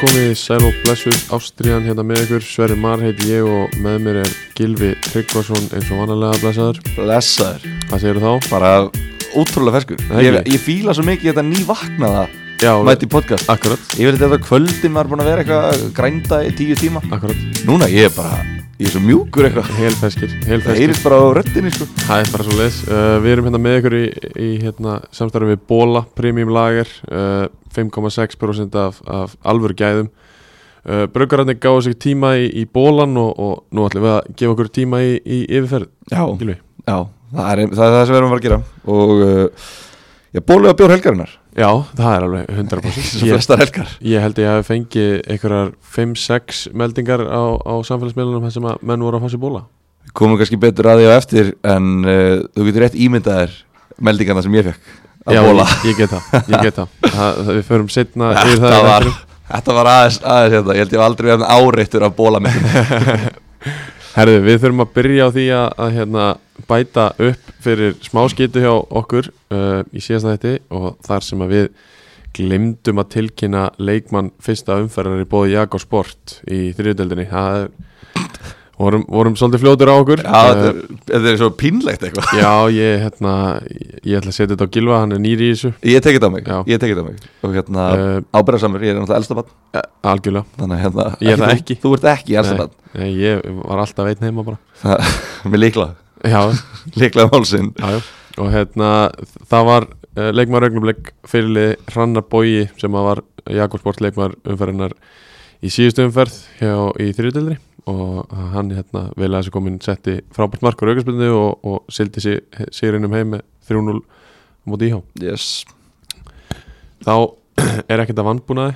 komið sæl og blessuð Ástriðan hérna með ykkur, Sverri Mar heiti ég og með mér er Gilvi Tryggvason eins og vanalega blessaður Blessaður Hvað segir þá? Bara ótrúlega ferskur Það ég, er ekki. ég fíla svo mikið þetta nývaknaða Já, Mæti í podcast akkurat, Ég veit þetta á kvöldin var búin að vera eitthvað að Grænda í tíu tíma akkurat, Núna ég er bara Ég er svo mjúkur eitthvað helfeskir, Það helfeskir heyrist bara á röddinni sko Það er bara svo leis uh, Við erum hérna með ykkur í, í hérna, samstarfi við Bóla Premium Lager uh, 5,6% af, af alvöru gæðum uh, Bruggararnir gáðu sig tíma í, í Bólan og, og nú ætlum við að gefa okkur tíma í, í yfirferð Já, Gilvi já það, er, það er það sem við erum að fara að gera Og uh, ég bóluði að bjór helgarinnar Já, það er alveg 100% Svo Ég- flestar helgar Ég held ég hafi fengið einhverjar 5-6 meldingar á, á samfélagsmiðlunum þar sem að menn voru að fá sér bóla Við komum kannski betur að því á eftir En uh, þú getur rétt ímyndaðir Meldingarna sem ég fekk Að Já, bóla ég, ég get það, ég get það, það, það Við förum setna yfir það hérna. Þetta í var, þættinum. þetta var aðeins, aðeins hérna. Ég held ég hef aldrei verið áreittur af bóla mitt Herðu, við þurfum að byrja á því að, að hérna, bæta upp fyrir smáskýtu hjá okkur uh, í síðasta þætti og þar sem að við glemdum að tilkynna leikmann fyrsta umferðar í bóði Jakob Sport í þriðutöldinni Það er, vorum, vorum svolítið fljótur á okkur Uh, Já, þetta er, þetta er svo pínlegt eitthvað Já, ég, hérna, ég ætla að setja þetta á Gilva, hann er nýri í þessu Ég tekið það á mig, Já. ég tekið það á mig Og hérna, uh, ábyrðarsamur, ég er náttúrulega elsta bann Algjörlega Þannig að hérna, Ég er það þú- ekki. Þú ert ekki elsta Nei. bann Nei, Ég var alltaf einn heima bara Það, Með líkla, Já, líkla málsinn já, já Og hérna, það var uh, leikmaður augnumleik fyrirlið Hrannar Bói sem að var Jakobsport leikmaður umferðinar í síðustu umferð hjá í þriðutildri og hann hérna vel að þessu komin setti frábært markur aukarspilni og, og sildi sig, sigrinum heim með 3-0 á móti íhá yes. þá er ekkert að vannbúnaði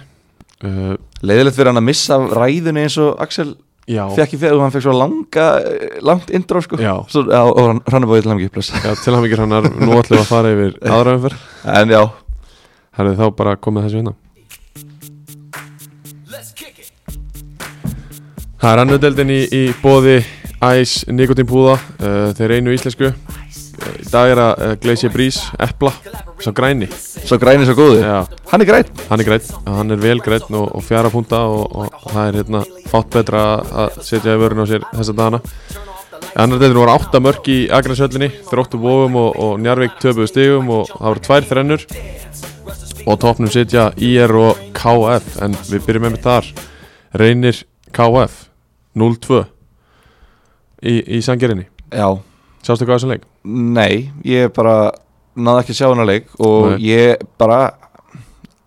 uh, Leiðilegt fyrir hann að missa af ræðunni eins og Axel já, fekk í fyrir Hann fekk svo langa, eh, langt indrá sko Já. svo, já Og hann, hann er búið til hann ekki bless já til hann ekki hannar nú ætlum við að fara yfir aðra umferð En já, Það er þá bara komið þessu hérna Það er annu deildin í, í bóði Æs Nikotínpúða uh, Þeir einu íslensku uh, Í dag er að uh, Glacier Breeze Epla Sá græni svo græni svo góði Já, Hann er græn Hann er græn Hann er vel græn og, og fjara punta og, og það er hérna Fátt betra að setja í vörun á sér þessa dagana Annar deildin voru átta mörk í Akransöllinni Þróttu vofum og, og Njarvík töpuðu stigum Og það voru tvær þrennur og á topnum sitja IR og KF en við byrjum með þar reynir KF 0-2 í, í sangerinni Já, sástu hvað þessum leik? Nei, ég bara náði ekki að sjá hennar leik og Nei. ég bara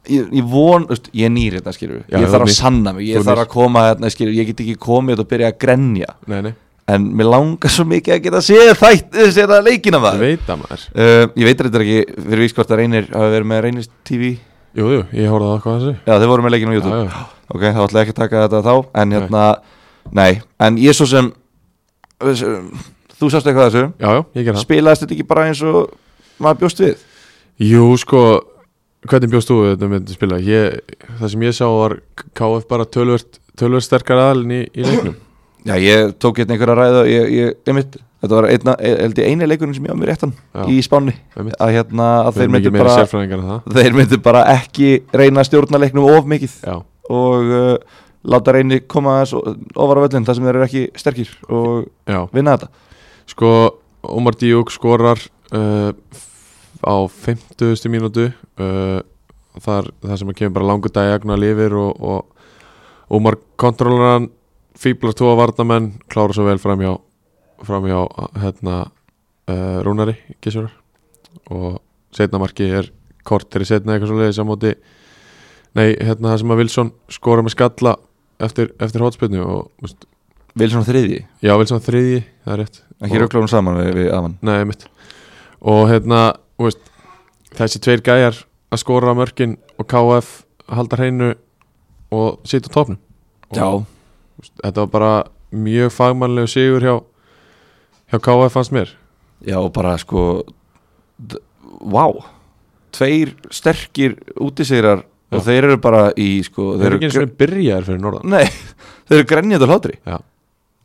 ég, ég von, þú veist, ég er nýr hérna skilur Já, ég þú þarf að nýr. sanna mig, Þú ég nýr. þarf að koma hérna skilur, ég get ekki komið hérna og byrja að grenja Nei, nei, en mér langar svo mikið að geta séð þætt eh, séð það leikina ég maður veit það maður uh, ég veit þetta ekki fyrir víst hvort að reynir hafa verið með reynir TV já, Jú, jú, ég horfði á hvað þessu þau voru með leikina á YouTube Já, já. ok, þá ætla ég ekki að taka þetta þá en Nei. hérna, nei, en ég svo sem þú sást eitthvað af þessu Já, já, ég ger það spilaðist þetta ekki bara eins og maður bjóst við Jú, sko, hvernig bjóst þú við þetta með þetta spila? Ég, það sem ég sá var KF bara tölvört, tölvört sterkar aðalinn í, í leiknum Já, ég tók hérna einhverja ræða ég, ég, einmitt, þetta var einna, e, held ég eini leikurinn sem ég á mér réttan Já. í spánni Einmitt. að hérna, að Við þeir erum myndu ekki meira bara sérfræðingar en það þeir myndu bara ekki reyna að stjórna leiknum of mikið Já, og uh, láta reyni koma aðeins o- ofar á völlin þar sem þeir eru ekki sterkir og já vinna þetta Sko, Omar Díuk skorar uh, f- á 50. mínútu uh, þar, þar sem að kemur bara langur diagonal yfir og, og Omar kontrolar hann fýblar tvo varnamenn, klára svo vel framhjá framhjá hérna uh, Rúnari Gissur og setna marki er kortir í setna eitthvað svo leiðis á móti nei, hérna það sem að Wilson skora með skalla eftir, eftir hótspilnu og þú veist, Vilsson þriði, já, Wilson þriðji, það er rétt ekki Og- rögla hún saman við, við aðan Nei, mitt Og hérna, þú veist, þessi tveir gæjar að skora mörkin og KF halda hreinu og sitja á topnum Og þú veist, Þetta var bara mjög fagmannlegu sigur hjá, hjá KF fannst mér Já, og bara sko d- Vá Tveir sterkir útisegrar og Já. þeir eru bara í sko Þeir eru ekki eins gr- og byrjaðir fyrir norðan Nei, þeir eru grænjandi og hlátri Já,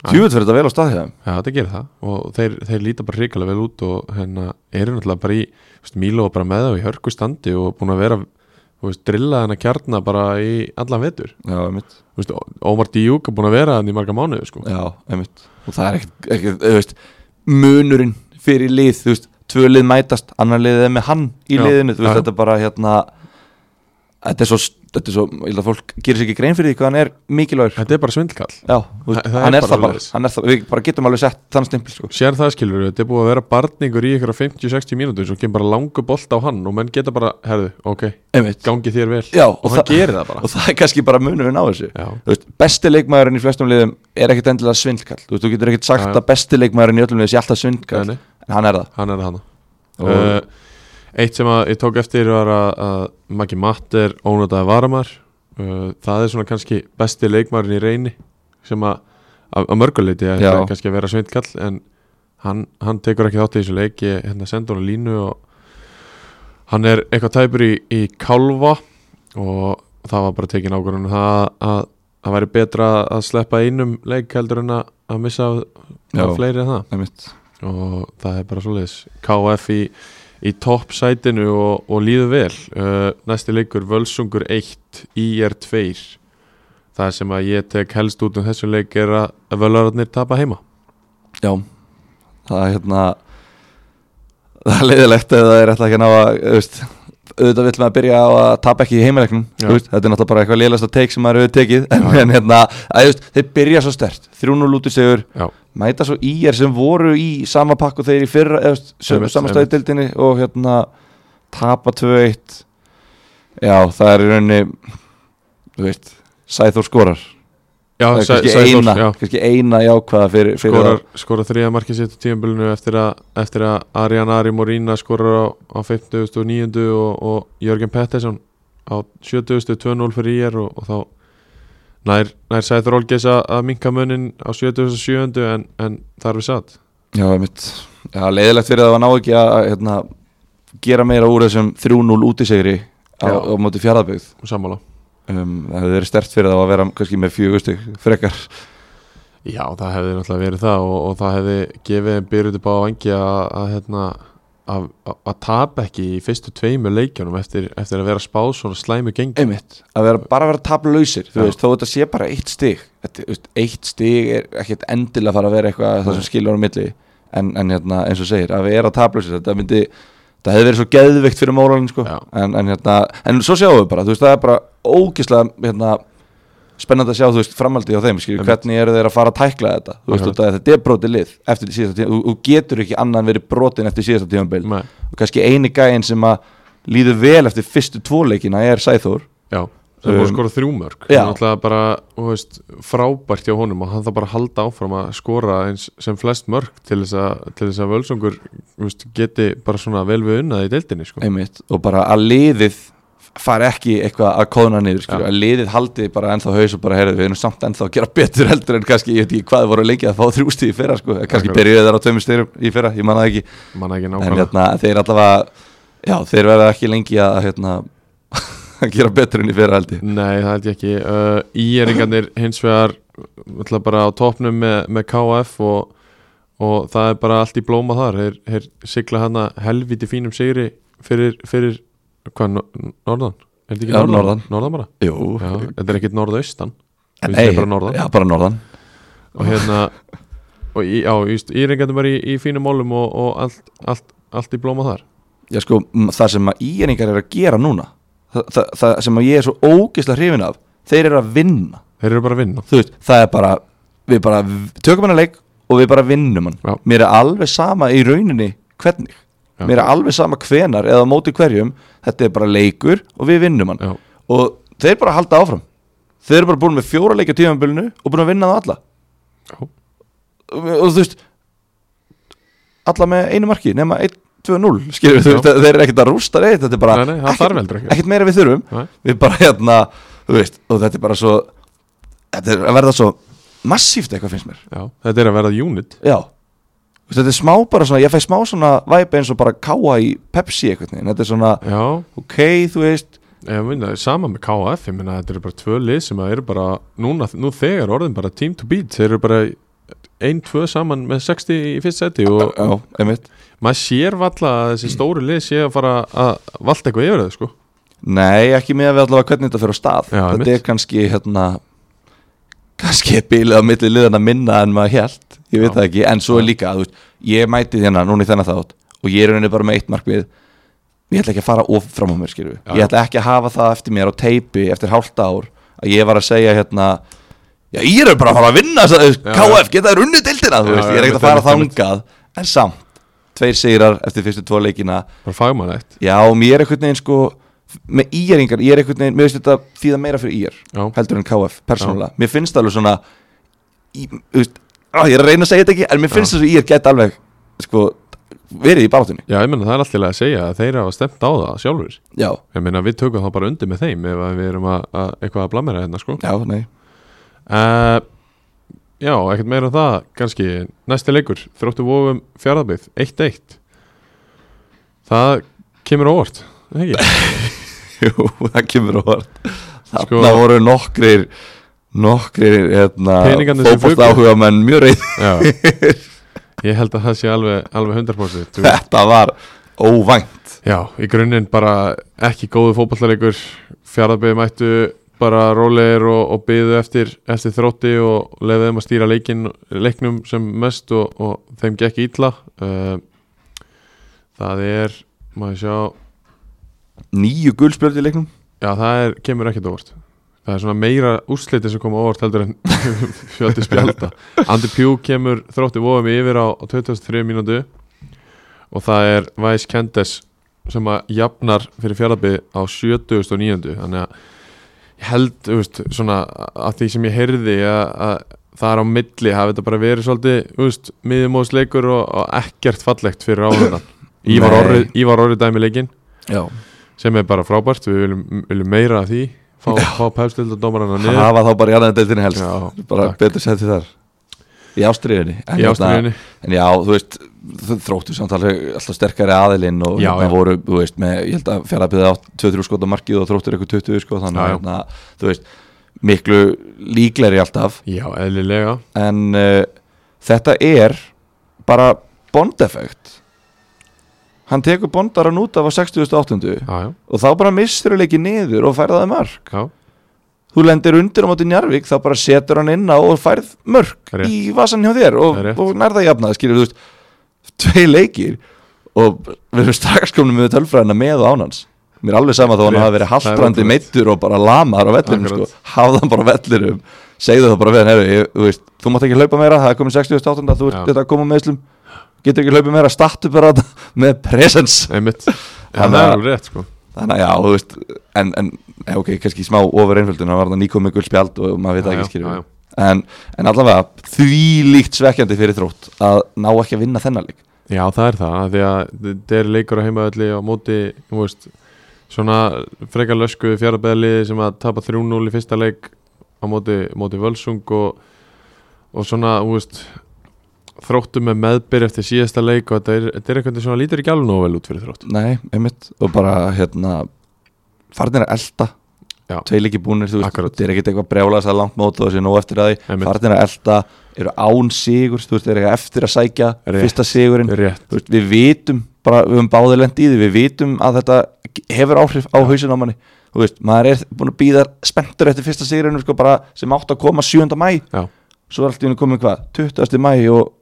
Tjúvill fyrir þetta vel á staðið þeim Já, þetta gerir það og þeir, þeir líta bara hrikalega vel út og hérna eru náttúrulega bara í þú veist, Mílo var bara með þá í hörku standi og búin að vera þú veist, drillaði hann að kjarna bara í allan vetur já, einmitt Þú veist, Ó- Ómar Díuk er búin að vera hann í marga mánuði sko. já, einmitt og það er ekkert, ekkert þú veist, munurinn fyrir lið, þú veist, tvö lið mætast annar lið er með hann í Já, liðinu þú veist, já. þetta er bara hérna þetta er svo, þetta er svo, ég held að fólk gerir sér ekki grein fyrir því hvað hann er mikilvægur þetta er bara svindlkall já, þú veist, Það- það hann er er bara það bara, svoleiðis. hann er það við bara getum alveg sett þann stimpil, sko sér það skilur, þetta er búið að vera barningur í ykkur 50-60 mínútur svo kemur bara langu bolt á hann og menn geta bara, herðu, ok einmitt, gangi þér vel já, og hann gerir það bara og það er kannski bara munurinn á þessu já, Þú veist, besti leikmaðurinn í flestum liðum er ekkit endilega svindkall þú, veist, þú getur ekkit sagt Já, já. að besti leikmaðurinn í öllum liðum sé alltaf svindkall nei, nei, en hann er það hann er hann og, uh, eitt sem að ég tók eftir var að, að Maggi Matt er ónötaði varamar uh, það er svona kannski besti leikmarin í reyni sem að að að mörguleiti að Já. kannski að vera svindkall en hann, hann tekur ekki þátt í þessu leik ég hérna sendi hann línu og hann er eitthvað tæpur í, í kálfa og það var bara tekin ákvörðun um það að það væri betra að sleppa einum leik heldur en að að missa af, já, af fleiri en það einmitt og það er bara svoleiðis KF í, í topp sætinu og, og líðu vel uh, næsti leikur Völsungur 1 IR 2 það sem að ég tek helst út um þessum leik er að völararnir tapa heima já, það er hérna það er leiðilegt ef það er alltaf ekki að ná að þú veist, auðvitað vill maður byrja á að tapa ekki í heimilegnum Já. veist, þetta er náttúrulega bara eitthvað leiðilegsta teik sem maður hefur tekið en, Já. en hérna, að, þú veist, þeir byrja svo stert 3-0 út í sigur Já. mæta svo í er sem voru í sama pakku þeir í fyrra, eða Einmitt, samanstæði dildinni og hérna tapa 2-1 já það er í rauninni þú veist, Sæþór skorar já, það er Sæ- kannski, Sæþór, eina, já, kannski eina jákvæða fyrir, fyrir skorar, skorar þrija markið sitt á tíðanbölinu eftir, að- eftir að Arjan Ari Morína skorar á, á 59. og, og Jörgen Pettersson á 70. 2-0 fyrir IR og, og þá nær, nær sæður Olgeis að, að minka munin á 77. en, en þar við satt það. já, mitt, já, leiðilegt fyrir að það var ná ekki að hérna, gera meira úr þessum 3-0 útisegri á, Já. á móti fjaraðbyggð sammála. um, það hefur verið stert fyrir það að vera kannski með fjögustu frekar Já, það hefði náttúrulega verið það og, og það hefði gefið en byrjuð upp á vangi að, að, hérna, að, að, að tapa ekki í fyrstu tveimu leikjunum eftir, eftir að vera spáð svona slæmu gengi einmitt, að vera, bara vera tablausir þú Já. veist, þó þetta sé bara eitt stig þetta, þú veist, eitt stig er ekkert endilega að fara að vera eitthvað það sem skilur á milli en, en hérna, eins og segir, að vera tablausir þetta myndi, það hefði verið svo geðvikt fyrir móralin sko, Já. en, en hérna en svo sjáum við bara, þú veist, það er bara ógislega hérna, spennandi að sjá þú veist, framhaldi á þeim, skilur, Einmitt. hvernig eru þeir að fara að tækla þetta, þú veist, Akkurat. út af því að þetta er brotið lið eftir síðasta tíma, þú, þú getur ekki annan verið brotin eftir síðasta tímabil Nei, og kannski eini gæinn sem að líður vel eftir fyrstu tvoleikina er Sæþór Já, það Um, voru skora þrjú mörg já. náttúrulega bara, þú veist, frábært hjá honum og hann þarf bara að halda áfram að skora eins sem flest mörg til þess að, til þess að völsungur þú veist, geti bara svona vel við unnað í deildinni sko. einmitt, og bara að liðið fari ekki eitthvað að kóðna niður skilur, Já. að liðið haldið bara ennþá haus og bara heyrðu við erum samt ennþá að gera betur heldur en kannski, ég veit ekki hvað voru lengi að fá þrjústi í fyrra, sko, kannski Akkurat. byrjuðu þar á tveimur styrum í fyrra, ég manna ekki manna ekki en nákvæmlega hérna, þeir allavega, já, þeir verða ekki lengi að hérna, að gera betur en í fyrra heldur Nei, það held ég ekki uh, Íeringarnir hins vegar ætla bara á topnum með, með KF og, og það er bara allt í blóma þar Þeir, þeir sigla hana helviti fínum sigri fyrir, fyrir hvað, no- norðan? Er þetta ekki Já, norðan? norðan. Norðan bara? Jú, Já, þetta er ekkit norðaustan en finnst þér bara norðan? já, bara norðan og hérna og í, já, just, Íeringarnir bara í, í fínum málum og, og allt, allt, allt í blóma þar Já sko, m- það sem að íeningar er að gera núna það, það, það sem að ég er svo ógeðslega hrifin af Þeir eru að vinna Þeir eru bara að vinna Þú veist, það er bara Við bara v- tökum hann að leik og við bara vinnum hann Já. Mér er alveg sama í rauninni hvernig Já. Mér er alveg sama hvenar eða á móti hverjum Þetta er bara leikur og við vinnum hann Já, Og þeir bara halda áfram Þeir eru bara búin með fjóra leikja tímanbölinu og búin að vinna það alla já, og, og þú veist alla með einu marki nema 1-2-0 skilur Já. þú veist, þeir eru ekkert að rústa reitt þetta er bara Nei, nei, það þarf heldur ekki. ekkert meira við þurfum Nei. við bara hérna, þú veist og þetta er bara svo þetta er að verða svo massíft eitthvað finnst mér já Þetta er að verða unit já, Þú veist, þetta er smá bara svona ég fæ smá svona væpa eins og bara káa í Pepsi eitthvað, þetta er svona Já, ok, þú veist, Ég meina, sama með KF, ég meina, þetta eru bara tvö lið sem að eru bara, núna, nú þegar orðin bara team to beat, þeir eru bara ein, tvö saman með 60 í fyrst seti og já, einmitt maður sér valla að þessi stóru lið sé að fara að valda eitthvað yfir það, sko Nei, ekki með að við allavega hvernig þetta fyrir á stað Já, Þetta einmitt. er kannski hérna kannski er bílið á milli liðan að minna en maður held, ég veit Já. það ekki en svo er líka, þú veist, ég mæti þérna núna í þennan þátt og ég er í rauninni bara með eitt markmið ég ætla ekki að fara of fram á mér skilju, Já. ég ætla ekki að hafa það eftir mér á teipi eftir hálft ár að ég var að segja hérna já, ég er bara að fara að vinna þessa- þú veist, Já, KF, geta þér unnið deildina þú Já, veist, ég er einmitt, ekkert að fara einmitt, þangað en samt, tveir sigrar eftir fyrstu tvo leikina bara fagmannlegt Já, mér er einhvern veginn sko með íringar, ég er einhvern veginn, mér finnst þetta þýða meira fyrir ír, Já. heldur en KF persónulega, mér finnst alveg svona í, þú veist, á, ég er að reyna að segja þetta ekki en mér finnst þess að ír gæti alveg sko, verið í bátunni Já, ég meina það er alltaf að segja að þeir hafa stemt á það sjálfur Já, Ég meina við tökum þá bara undir með þeim ef að við erum að, að eitthvað að blamera hérna sko já, nei uh, Já, ekkert meira en það kannski næsti leikur þróttu vofum fjárðabíð 1-1 Það kemur á óvart er það ekki? Jú, það kemur orð Þarna Sko- voru nokkrir nokkrir, hérna Peningarnir sem fótbolta áhuga menn mjög reyð Já Ég held að það sé alveg, alveg 100% Þú- Þetta var óvænt Já, í grunninn bara ekki góðu fótballalegur Fjárðabíð mættu bara rólegir og, og byðu eftir, eftir þrótti og leiði þeim að stýra leikin, leiknum sem mest og, og þeim gekk ítla uh, Það er, maður sjá Nýju gulspjöldi í leiknum Já, það er, kemur ekkert óvart Það er svona meira úrsliti sem koma óvart heldur en fjöldi spjálta Andy Pugh kemur þrótti vofum yfir á, á 23 mínútu og það er Vice Kendes sem að jafnar fyrir fjárðabið á 79. Þannig að ég held, þú veist, svona að því sem ég heyrði að, að það er á milli hafi þetta bara verið svolítið, þú veist, miðumóðsleikur og, og ekkert fallegt fyrir áhundan Ívar Nei. Orri, Ívar Orri dæmi leikinn Já sem er bara frábært, við viljum, viljum meira af því fá, fá pepstildadómarana niður hafa þá bara í annaðin deildinni helst Já, bara takk. betur setti þar í ástriðinni en, í hérna- ástriðinni en já, þú veist, þ- þróttu samt alveg alltaf sterkari aðilinn og Já, hérna já. voru, þú veist, með, ég held að fjara að byrja á 23 skot á markið og þróttur eitthvað 20 sko, þannig Já, já. að hérna, þú veist miklu líkleri alltaf Já, eðlilega en uh, þetta er bara bondeffekt hann tekur bondaran út af á 68. Já, já, og þá bara missur leikið niður og færðaði mark já, þú lendir undir á móti Njarvík þá bara setur hann inn á og færð mörg Það er rétt. í vasan hjá þér og, Það er rétt. og nærða jafnaði skilur þú veist tvei leikir og við erum strax komin með tölfræðina með og án hans mér er alveg sama þó hann Rétt, hafi verið það er haldrandi ótrúlegt. meittur og bara lamaður á vellinum sko, Akkurat. hafða hann bara á vellinum segðu það bara við hann heru, ég, þú veist, þú mátt ekki hlaupa meira, það er komin 68 þú ert Já. þetta að koma með slum getur ekki hlaupa meira, startu bara þetta með presence einmitt Já, það Þannig er að- alveg rétt, sko þannig að já, þú veist en, en eh, ok, kannski smá ofur einföldun það var það nýkomið gul spjald og maður veit það Já, ekki skilur já, já. við. en, en allavega því líkt svekkjandi fyrir þrótt að ná ekki að vinna þennan leik Já, það er það, af því að þetta er leikur á heimaðalli á móti, þú veist svona frekar lösku fjárðabæðli sem að tapa 3-0 í fyrsta leik á móti, móti Völsung og, og svona, þú veist þróttu með meðbyr eftir síðasta leik og þetta er, þetta er eitthvað svona lítur ekki alveg nógu vel út fyrir þrótt nei, einmitt, og bara hérna farnir að elda Já. tvei leiki búnir, þú veist, Akkurat. þetta er ekkit eitthvað brjálaðs að langt mót og þessi nóg eftir að því Einmitt. farnir að elda, eru án sigur þú veist, eru eitthvað eftir að sækja Rétt. fyrsta sigurinn Rétt, Þú veist, við vitum bara, við höfum báðið lent í því við vitum að þetta hefur áhrif á hausin á manni þú veist, maður er búin að býða spenntur eftir fyrsta sigurinn sko, bara, sem átt að koma 7. mæ já, svo er allt í henni komið hvað, 20. mæ og,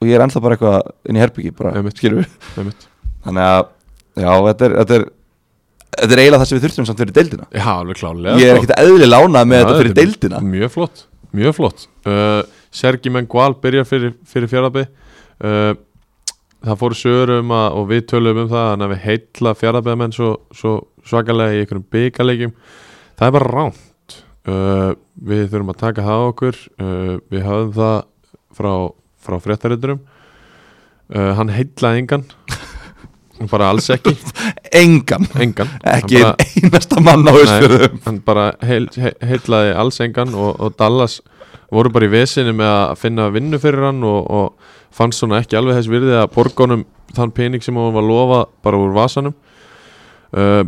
og ég er ennþá bara eitthvað inn í herbyggi bara, Einmitt. skilur við einmitt þannig að, já, þetta er, þetta er þetta er eiginlega það sem við þurftum samt fyrir deildina Já, alveg klálega ég er sko. ekkert eðli lánað með Já, þetta fyrir er deildina Mjög flott, mjög flott uh, Sergi Mengual byrjar fyrir, fyrir fjarabi uh, Það fóru sögur um að, og við töluðum um það þannig að við heitla fjarabiðamenn svo, svo svakalega í einhverjum byggalegjum Það er bara ránt uh, Við þurfum að taka það á okkur uh, Við hafðum það frá, frá fréttariturum uh, Hann heitlaði engan bara alls ekki, engan, engan Hann ekki bara- einasta mann á hausfjörðum Nei, hann bara heil, he- heillaði alls engan og, og Dallas voru bara í vesinu með að finna vinnu fyrir hann og, og fannst svona ekki alveg þess virði að borga honum þann pening sem hann var lofa bara úr vasanum uh,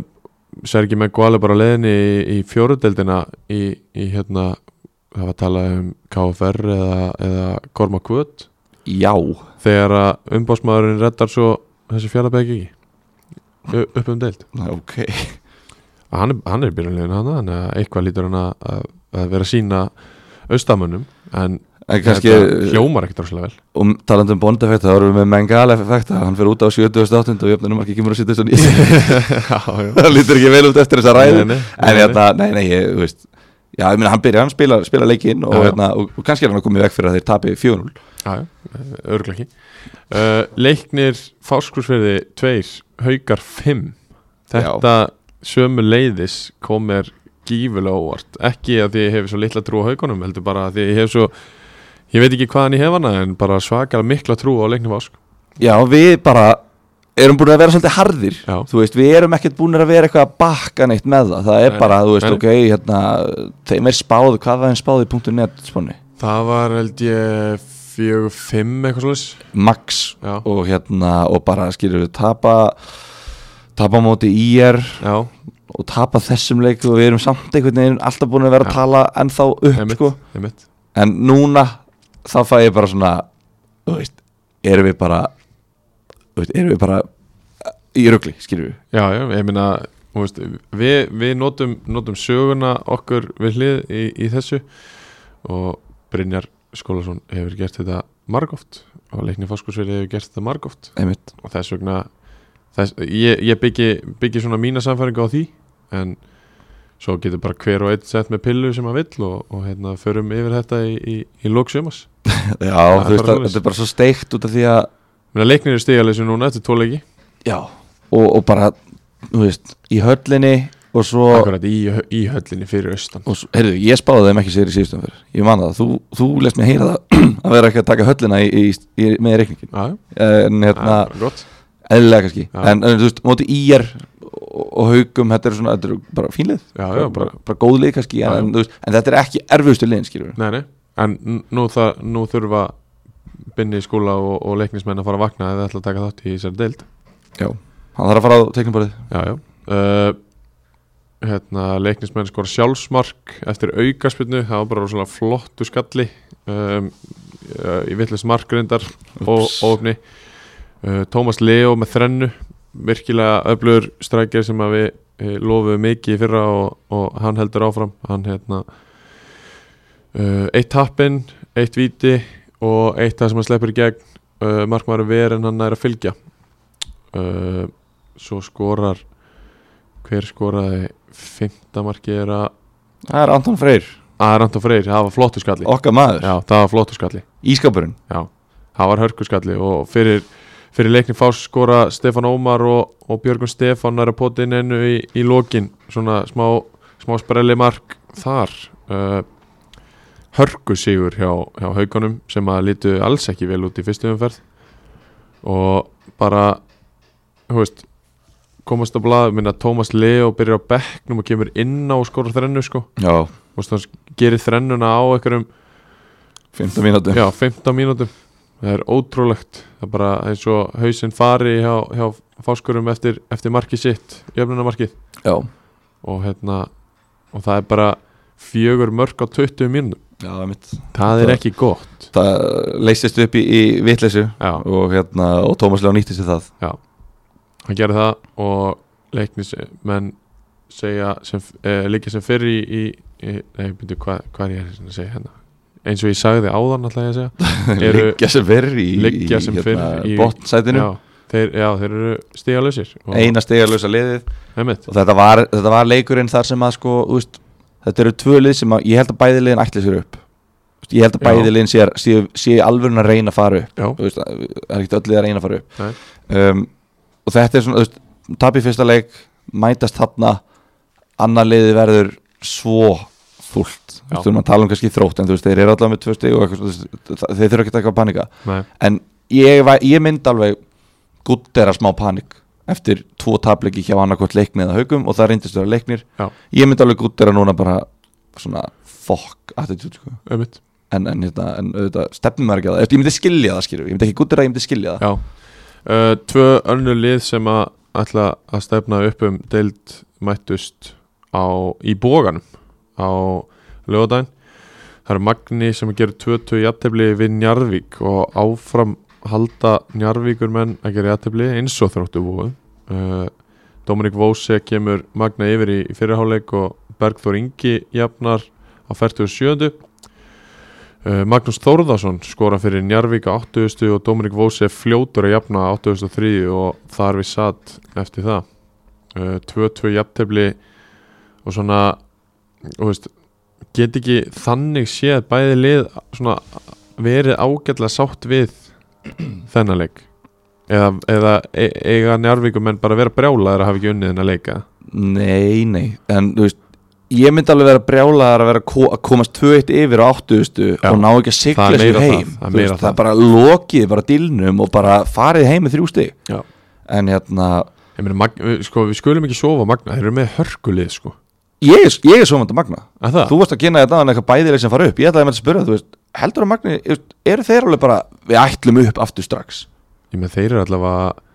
Sergi Meguali bara leðinni í, í fjóruðdeldina í, í hérna það var talað um KFR eða, eða Korma Kvöt já, þegar að umbásmaðurinn reddar svo þessi fjallabæk ekki U- upp um deild ok hann er, hann er byrjunlegin hann þannig að eitthvað lítur hann að, að- að vera að sína austamönnum en en kannski, þetta hljómar ekkert rosalega vel og um, talandi um bondeffekta þá erum við með Mengala effekta, hann fyrir út á 78 og jöfnunum ekki kemur að sitja þessan í já, já það lítur ekki vel út eftir þessa ræðu Nei, nei, nei, en nei. hérna, nei, nei, ég, þú veist já, ég meina, hann byrja, hann spila, spila leikinn og, Já, já. hérna, og, og kannski er hann að koma í veg fyrir að þeir tapi 4-0 Já, já, örgulega ekki uh, Leiknir Fáskursverði 2, Haukar 5 Þetta sömu leiðis kom mér gífulega óvart Ekki að því ég hef svo litla trú á haukunum heldur bara að því ég hef svo ég veit ekki hvaðan ég hef hana en bara svakar mikla trú á leiknum Fásk já, við bara erum búin að vera svolítið harðir Já. þú veist, við erum ekkert búin að vera eitthvað að bakka neitt með það, það er Nei, bara, þú veist, nei. ok hérna, þeim er spáð, hvað var þeim spáð í punktu net spáni, Það var held ég 4-5 eitthvað svolítið max Já, og hérna, og bara skilur við tapa tapa á móti IR já, og tapa þessum leik og við erum samt einhvern veginn alltaf búin að vera Já. að tala ennþá upp einmitt, sko. einmitt en núna þá fæ ég bara svona þú veist, erum við bara þú veist, erum við bara eh, í rugli, skilur við Já, já, ég meina þú veist, við, við notum, notum söguna okkur við hlið í, í þessu og Brynjar Skólason hefur gert þetta margóft og leikni fáskursverið hefur gert þetta margóft einmitt, og þess vegna þess, ég, ég byggi, byggi svona mína samfæringu á því en svo getur bara hver og einn sett með pillu sem að vill og, og hérna förum yfir þetta í, í, í lóksjömas já, er þú bara veist, að, svoleiðis. þetta er bara svo steikt út af því að Leiknir er stíðalessu núna, þetta er tóleiki já, og, og bara þú veist, í höllinni og svo, Akkurat í, í höllinni fyrir austan og svo heyrðu, ég spáði þeim ekki sér í síðustum fyrir, ég man það, þú, þú lest mér heyra það að vera ekki að taka höllina í, í, í, með reikningin Já, já, en það hérna, er bara gott eðlilega kannski Já. en, en þú veist, móti íjar og, og haugum, þetta er svona, þetta er bara fínlið Já, já, bara, bara- bara, bara góð lið kannski Já, já. en, en, þú veist, en þetta er ekki erfustu liðin, skilur við Nei, nei, en n- nú, það, nú þurfa binni í skóla og, og leiknismenn að fara að vakna eða ætla að taka þátt í þessari deild Já, hann þarf að fara á teiknubarið Já, já uh, hérna, Leiknismenn skora sjálfsmark eftir aukaspinnu, það var bara rosalega flottu skalli um, uh, í vittlust markrindar og Ups. ofni uh, Tómas Leo með þrennu virkilega öflugur strækjar sem að við eh, lofuðum mikið í fyrra og, og hann heldur áfram hann hérna uh, eitt tappin, eitt viti og eitt það sem hann sleppur í gegn uh, markmaður ver en hann er að fylgja uh, svo skorar hver skoraði fymta markið er að Það er Anton Freyr, að Rantó Freyr, það var flottu skalli okkar maður, já, það var flottu skalli ískapurinn Já, það var hörkuskalli og fyrir, fyrir leikni fás skora Stefán Ómar og, og Björgun Stefán er að pota inn ennu í, í lokin svona smá, smá sprelli mark þar uh, hörkusígur hjá, hjá haugunum sem að lítu alls ekki vel út í fyrstu umferð og bara þú veist komast á blað, minna Tómas Leo byrjar á bekknum og kemur inn á og skorar þrennu sko, Já, og þannig gerir þrennuna á einhverjum 15 mínútu Já, 15 mínútum Það er ótrúlegt Það er bara eins og hausinn fari hjá, hjá fáskurum eftir, eftir markið sitt Jöfnunamarkið Já, og, hérna, og það er bara fjögur mörg á 20 mínútum já mitt Það er ekki gott Það leysist upp í, í vitleysu Já, og, hérna, og Tómas Leó nýtti sér það hann gerir það og leiknismenn segja sem, eh, líka sem fyrir í, í, í nei, byrju, hvað, hvað er ég að segja hérna eins og ég sagði áðan alltaf ég að segja Eru- Liggja sem fyrr í, í, hérna, Liggja sem fyrr í- botnsætinu já, þeir, já, þeir eru stíðalösir Eina stegarlösa liðið einmitt, og þetta var, þetta var leikurinn þar sem að sko, úst, þetta eru tvö lið sem að ég held að bæði liðin ætli sér upp Úst, ég held að Já. bæði liðin sé, sé, sé alvörun að reyna að fara upp já, úst, það er ekkert öll lið að reyna að fara Nei. upp um, og þetta er svona úst, tap í fyrsta leik, mætast þarna annar liði verður svo fullt Já. þú veist, maður tala um kannski þrótt en þú veist, þeir eru allavega með tvö stig og eitthvað, svona, þú veist, það- þeir þurfa ekki að taka að panika nei, en ég, væ- ég myndi alveg guttera smá panik eftir tvo tabliki hjá annarkvort leikni eða haugum og það reyndist vera leiknir Já. ég myndi alveg guttera núna bara svona fuck attitude sko. einmitt en, en, hérna, en auðvitað stefnum er ekki að það Eftir, ég myndi skilja það skilju, ég myndi ekki guttera, ég myndi skilja það Já uh, Tvö önnu lið sem að ætla að stefna upp um deild mættust á, í bóganum á lögadaginn Það eru Magni sem gerir 22 jættefli við Njarvík og áfram halda Njarvíkur menn að gera jættefli eins og þróttu búið uh, Dominik Vose kemur Magna yfir í, í fyrirháleik og Bergþór Ingi jafnar á 47. Uh, Magnús Þórðarsson skora fyrir Njarvík á 80. og Dominik Vose fljótur að jafna á 83. og þar við satt eftir það. Uh, 2-2 jafntefli og svona og veist, get ekki þannig séð bæði lið svona verið ágætlega sátt við þennan leik eða, eða e- eiga njárvíkumenn bara að vera brjálaðir að hafa ekki unnið þennan leika Nei, nei, en þú veist Ég myndi alveg vera brjálaðar að vera ko að komast 2-1 yfir á 80 Já, og ná ekki að sigla það er sér meira það, heim það er Þú meira veist, það það. er bara lokið, bara dilnum og bara farið heim með þrjú stig Já. En hérna, ég meina, Mag- við- sko, við skulum ekki sofa Magna, þeir eru með hörkulið sko ég, er- ég er svo vant að magna að það, Þú varst að kynna þetta að eitthvað bæðileg sem fara upp Ég ætlaði með að spyrja, þú veist, heldur að magni þú veist, Eru þeir alveg bara, við ætlum upp aftur strax ég meina þeir eru allavega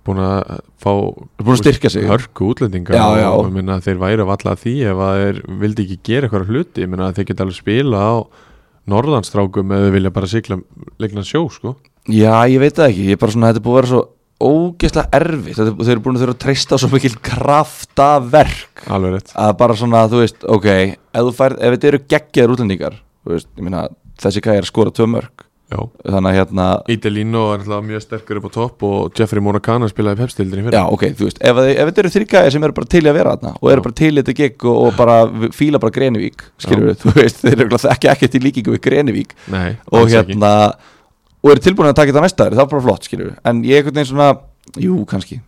búin að fá Þú búin að styrka sig hörku útlendinga Já, já. og ég meina þeir væri að valla að því ef að þeir vildi ekki gera eitthvað hluti ég meina þeir geta alveg spila á norðanstrákum eða vilja bara sigla leikna sjó sko Já, ég veit það ekki, ég er bara svona, þetta er búið að vera svo ógeðslega erfitt Þetta er- Þeir eru búin að þurfa að treysta á svo mikil kraftaverk alveg rétt, að bara svona, þú veist, ok ef, þú færð, ef þetta eru geggjaður útlendingar þú veist, ég meina, þessi gæði er að skora tvö mörg já þannig að hérna, Ídelino er alltaf mjög sterkur upp á topp og Jeffrey Monacana spilaði pepstildin í fyrir já, ok, þú veist ef, þið- ef þetta eru þrý gæði sem eru bara til í að vera þarna og eru Já. bara til í þetta gegg og, og bara v- fíla bara Grenivík, skilur við, þú veist þeir eru ekki ekkert í líkingu við Grenivík Nei, og alls ekki. hérna, og eru tilbúin að taka þetta næsta ári, það er bara flott, skilur við en ég er einhvern veginn svona, jú, kannski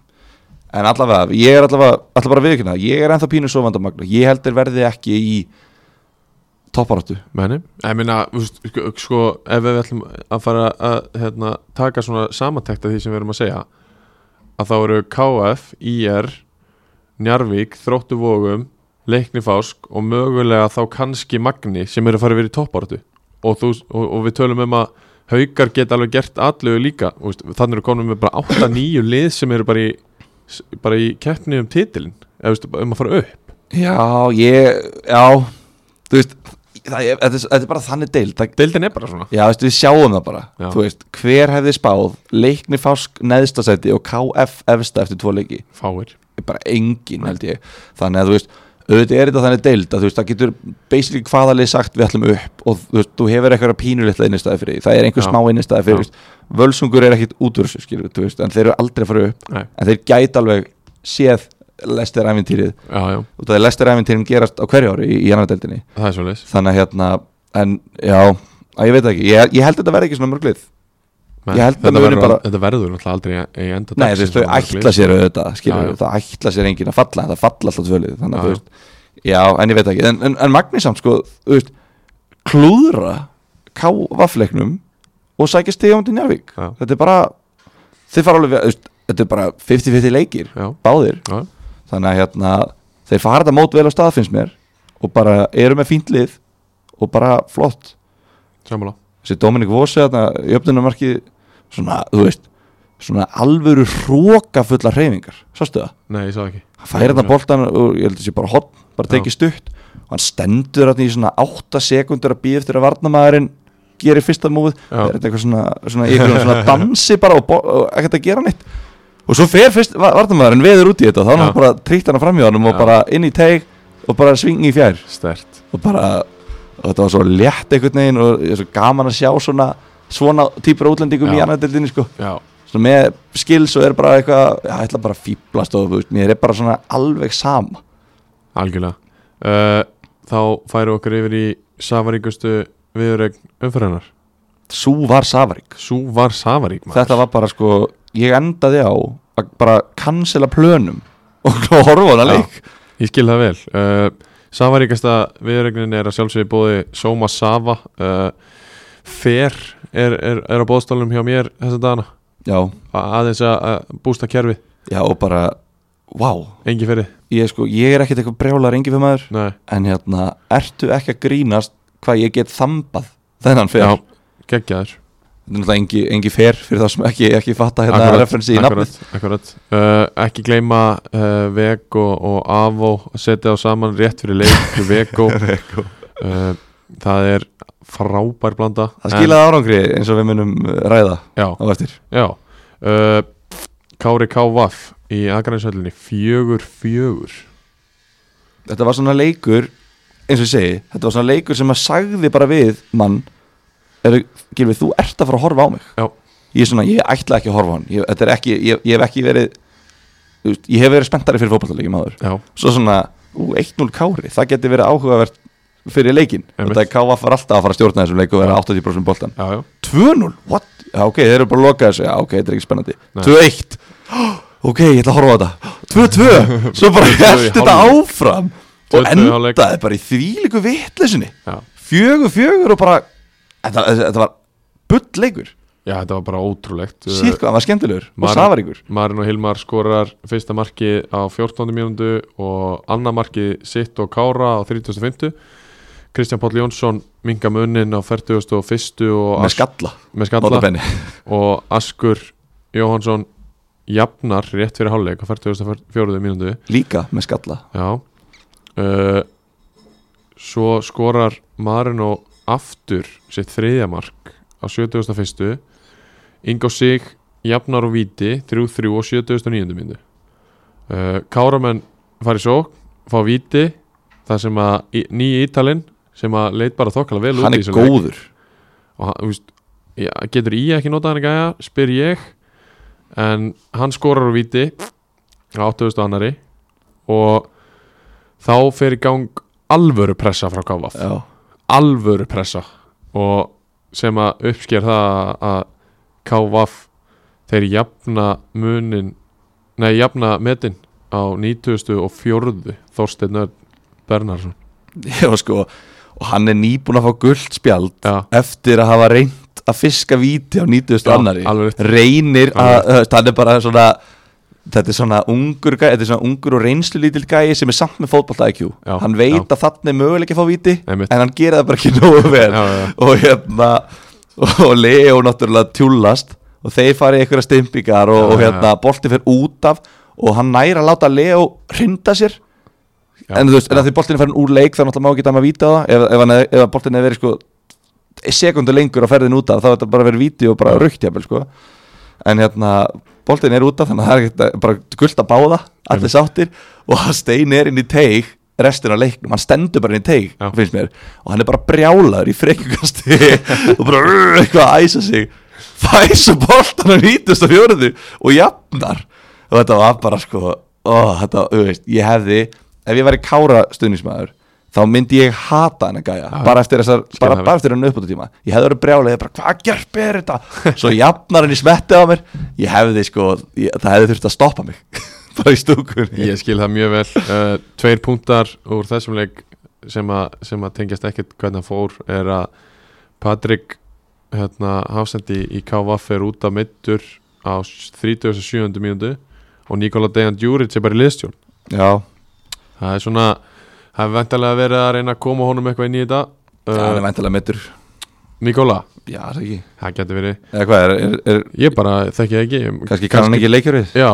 en allavega, ég er allavega, allavega bara viðkynna ég er ennþá pínu svo vandamagna, ég held þeir verði ekki í topparáttu Meni, ég meina, þú veist, sko, sko ef við ætlum að fara að hérna, taka svona samantekta því sem við erum að segja að þá eru KF, IR Njarvík, Þróttu Vogum Leikni Fásk og mögulega þá kannski Magni sem eru að fara verið í toppartu og, þú, og, og við tölum um að haukar geta alveg gert allu líka þú veist, þannig eru konum með bara 8-9 lið sem eru bara í, bara í keppni um titilin, eða þú veist, um að fara upp Já, ég, já Þú veist, það, er- þetta, er, þetta er bara þannig deild það, Deildin er bara svona Já, veist, við sjáum það bara Já. Þú veist, hver hefði spáð Leikni Fásk neðstasæti og KF efsta eftir tvo leiki Fáir Bara engin, held ég Þannig að þú veist, auðvitað er þetta þannig deild að þú veist, það getur basically hvaðalegi sagt við ætlum upp og þú veist, þú hefur eitthvað pínulitla innistæði fyrir því, það er einhver Já. smá innistæði Já. fyrir þú veist, Völsungur er ekkit útvörsu, skilur, þú veist, en þeir eru aldrei að fara upp Nei. en þeir gæti alveg séð lestir æfintýrið Já, já, út af því lestir æfintýrin gerast á hverju ári í, í annar deildinni það er svo leis þannig að hérna, en já að ég veit það ekki, ég, ég held að þetta verði ekki svona mörglið Ég held að þetta, muni verður, bara- al- þetta verður náttúrulega aldrei í- í enda nei þú veist, þau ætla sér auðvitað skilur Já, já. við, það ætla sér enginn að falla en það falla alltaf tvölið, þannig Já, að já. þú veist já, en ég veit það ekki, en, en, en Magni samt sko, þú veist, klúðra kávafleiknum og sækja stíðum til Njarvík Já. þetta er bara, þið fara alveg þú veist, þetta er bara 50-50 leikir Já, báðir, já, þannig að hérna þeir fara þetta mót vel á stað finnst mér og bara eru með fínt lið og bara flott sammála þessi Dominik Vose þarna í öfnunamarki svona, þú veist svona alvöru hrókafullar hreyfingar sástu það, Nei, ég sá ekki hann færi þarna boltan og ég held að sé bara hotn, bara tekið stutt og hann stendur þarna í svona 8 sekundur að býða eftir að varnamaðurinn gerir fyrsta múið, Já. það er þetta eitthvað svona, svona, í einhverjum svona dansi bara og, bo- og ekkert að gera neitt og svo fer fyrst va- varnamaðurinn veður út í þetta og þá er Já. hann bara trýtt hann fram í honum og Já. bara inn í teig og bara svingi í fjær Stert og bara og þetta var svo létt einhvern veginn og ég er svo gaman að sjá svona svona týpur af útlendingum Já. í annaðildinni sko Já, svona svona með skils og er bara eitthvað já, ég ætla bara að fýblast og þú veist, mér er bara svona alveg sama algjörlega uh, Þá færum við okkur yfir í Savaríkustu viðuregn umfyrirnar svo var Savarík Sú var Savarík maður þetta var bara sko ég endaði á að bara cancela plönum og horfa á hana Já. leik Ég skil það vel uh, Savaríkasta viðregnin er að sjálfsögði bóði Soma Sava uh, Fer er, er, er á bóðstólnum hjá mér þessa dagana já, A- aðeins að- að bústa kerfið já og bara wow engi fyrir, ég, sko, ég er ekkert eitthvað brjálar engi fyrir maður nei en hérna, ertu ekki að grínast hvað ég get þambað þennan fyrir Já, geggjaður Þetta er náttúrulega engi, engi fer fyrir það sem ekki, ekki fatta hérna referensi í nafnið akkurat, akkurat. Uh, Ekki gleyma uh, Vego og Avo að setja þá saman rétt fyrir leik Vego uh, Það er frábær blanda Það en- skilaði árangri eins og við munum uh, ræða Já, á eftir já uh, Kári Kávaf í Akranisöllinni fjögur fjögur þetta var svona leikur eins og ég segi, þetta var svona leikur sem að sagði bara við mann er, Gilvi, þú ert að fara að horfa á mig Já. ég er svona, ég ætla ekki að horfa á hann ég, þetta er ekki, ég, ég hef ekki verið þú veist, ég hef verið spenntari fyrir fótballalegjum áður Já, svo svona, ú, 1-0 kári það geti verið áhugavert fyrir leikin Einmitt. þetta er káfa fyrir alltaf að fara að stjórna þessum leik og vera 80% boltan já, já 2-0, what? Já, ok, þeir eru bara að loka þessu, já, ok, þetta er ekki spennandi Nei. 2-1, ok, ég ætla að horfa á þetta 2-2, svo bara 2-2 í held þetta hálfleik. áfram 2-2 og í hálfleik. endaði bara í þvílíku vitlesinni Já. fjögur, fjögur og bara þetta, þetta var bullleikur Já, þetta var bara ótrúlegt síðan hvað, hann var skemmtilegur og Maður- safaríkur Marin og Hilmar skorar fyrsta markið á 14. mínúndu og annað markið sitt og Kára á 35. Kristján Páll Jónsson minga munnin á 41. og með Ask- skalla, með skalla notabenni og Askur Jóhansson jafnar rétt fyrir hálfleik á 44. mínúndu líka með skalla Já uh, Svo skorar Marino aftur sitt þriðja mark á 71. Ingo Sig jafnar og víti 3-3 og 79. myndu uh, Káramenn fari svo fá víti þar sem að í- nýji Ítalinn sem að leit bara þokkala vel út hann í er þessum leik. góður og hann, þú veist, já, getur í ekki notað hann gæja, spyr ég en hann skorar úr viti á 8000 annari og þá fer í gang alvöru pressa frá Kávaf já. alvöru pressa og sem að uppsker það að Kávaf þeir jafna munin nei, jafna metin á 94. Þorsteinn Örn Bernhardsson Já, sko, og hann er nýbúin að fá gullt spjald Já, eftir að hafa reynt að fiska víti á 90. Já, annari alveg rétt. reynir að, Alveg þú veist, hann er bara svona þetta er svona ungur gæi, þetta er svona ungur og reynslu lítil gæi sem er samt með fótballta IQ Já, hann veit já. að þarna er möguleik að fá víti Einmitt. en hann gerir það bara ekki nógu vel Já, já. og hérna og Leo náttúrulega tjúllast og þeir fara í einhverja stimpingar og, Já, og já, hérna bolti fyrir út af og hann næri að láta Leo hrinda sér já, en þú veist, en að því boltin er farin úr leik þá náttúrulega má ekki dæma víta á það ef, ef, hann hef- ef boltin er verið sko sekundu lengur á ferðin út af þá er þetta bara verið víti og bara raukt jafnvel sko en hérna, boltin er út af þannig að það er ekkert að- bara gult að báða allir sáttir og hann stein er inn í teig restin af leiknum, hann stendur bara inn í teig Já. finnst mér, og hann er bara brjálaður í frekjukasti og bara rrr, eitthvað að æsa sig fær svo boltan á 94 og jafnar og þetta var bara sko ó, þetta, þú veist, ég hefði ef ég væri kára stuðnismæður þá myndi ég hata hann að gæja Já. bara eftir þessar, bara, það. bara eftir hann uppbútu tíma ég hefði verið brjálega, bara hvað gerpi er þetta svo jafnar hann í smetti á mér ég hefði sko, ég, það hefði þurft að stoppa mig bara í stúkunni Ég skil það mjög vel uh, Tveir punktar úr þessum leik sem, að- sem að tengjast ekkert hvernig hann fór er að Patrik hérna, Hafsendi í KVF er út af middur á 37. mínútu og Nikola Dejan Djuric er bara í liðstjórn já, Það er svona það er vantarlega verið að reyna að koma honum eitthvað inn í þetta það er uh, væntalega mittur Nikola, já, það er ekki það getur verið eða hvað, er, er, er, Ég bara þekki það ekki kannski kann hann ekki leikjörið Já,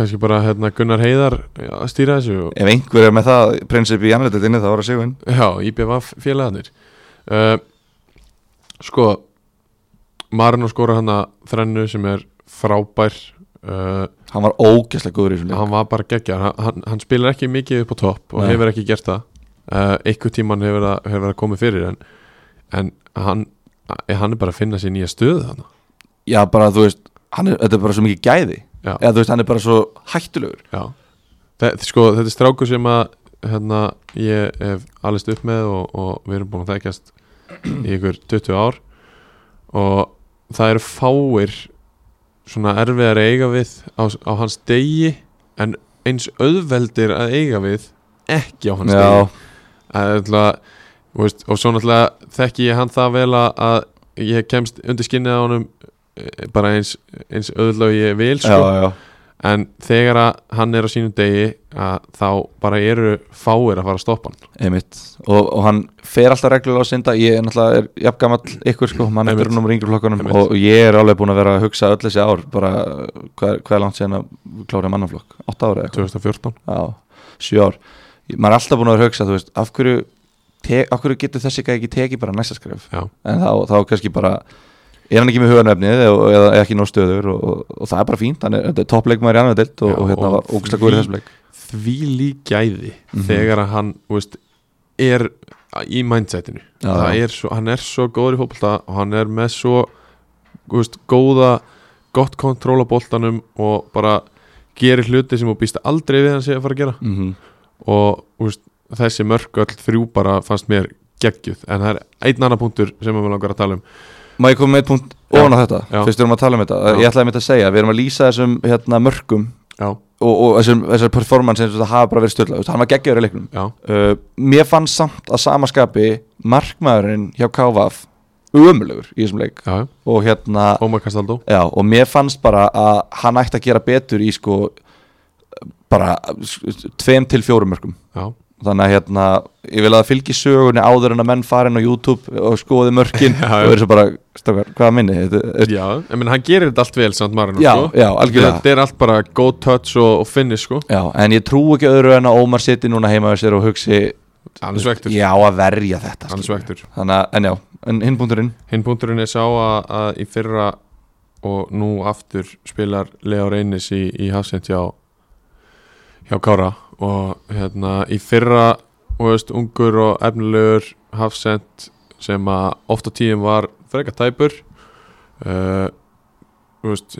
kannski bara hérna, Gunnar Heiðar já, stýra þessu og ef einhver er með það prinsip í annaðleitinni þá var að segja hann Já, IBF félagarnir uh, Sko Marino skorar hann að þrennu sem er frábær uh, hann var ógæslega góður í þessum leik Hann var bara geggjar hann, hann, hann spilar ekki mikið upp á topp og Nei. hefur ekki gert það uh, Einhver tíman hefur það, hefur það komið fyrir en, en hann, hann er bara að finna sér nýja stöðu hann já, bara þú veist, hann er, þetta er bara svo mikið gæði Já, eða þú veist, hann er bara svo hættulegur já. Þe, Sko, þetta er strákur sem að hérna, ég hef allist upp með og, og við erum búin að þekkjast í ykkur 20 ár og það eru fáir svona erfiðar að eiga við á, á hans degi en eins auðveldir að eiga við ekki á hans degi að, ætla, veist, og svo náttúrulega þekki ég hann það vel að, að ég kemst undir skinnið á honum eh, bara eins, eins auðvöldlega ég vil já, sko. já, en þegar að hann er á sínum degi að þá bara eru fáir að fara að stoppa hann einmitt og, og hann fer alltaf reglulega á synda ég er náttúrulega er jafngamall ykkur sko mann eftir Einmitt. húnum ringur flokkanum Einmitt. og ég er alveg búin að vera að hugsa öll þessi ár bara hvað hvað er langt síðan að klára mannaflokk, 8 ára eitthvað 2014 já, sjö ár Ég- maður er alltaf búin að vera að hugsa, þú veist, af hverju te, af hverju getur þessi gæði ekki tekið bara næsta skref Já. en þá, þá kannski bara er hann ekki með huganefnið og- eða er ekki nóg stöður og, og, og það er bara fínt, hann er, þetta er toppleikmaður í annar delt og, Já, og hérna og var ógust að góður í því- þessum leik því líkæði Mhm. þegar að hann þú veist, er í mindsetinu Já, Það já. er svo, hann er svo góður í fótbolta og hann er með svo þú veist, góða, gott kontról á boltanum og bara gerir hluti sem þú býst aldrei við hann sé að fara að gera mm -hmm. og þú veist, þessi mörk öll þrjú bara fannst mér geggjuð en það er einn annar punktur sem við langar að tala um Má ég koma með eitt punkt Já. ofan á þetta Já. Fyrst við erum að tala um þetta Já. Ég ætlaði mitt að segja, við erum að lýsa þessum hérna, mörgum Já, og, og þessum, þessar performance eins og það hafa bara verið stölda Hann var geggjör í leiknum já, uh, Mér fannst samt að samaskapi markmaðurinn hjá KVF ömulugur í þessum leik já, og hérna Ómar Kastaldó Já, og mér fannst bara að hann ætti að gera betur í sko bara s- tveim til fjórum mörgum Já, þannig að hérna, ég vil að það fylgi sögunni áður en að menn farin á YouTube og skoði mörkin Já, já. og verður svo bara, stakar, hvað minni þetta, þetta, já, en menn hann gerir þetta allt vel samt Marino, já, sko já, algjörlega Þetta er allt bara go touch og, og finish, sko já, en ég trú ekki öðru en að Ómar siti núna heima við sér og hugsi Hann er svektur, já, að verja þetta hann er skilur. svektur þannig að, en já, en hinn punkturinn Hinn punkturinn er sá að, að í fyrra og nú aftur spilar Leo Reynis í, í hafsend hjá, hjá Kára og hérna í fyrra þú veist, ungur og efnilegur hafsend sem að oft á tíum var frekar tæpur uh, veist,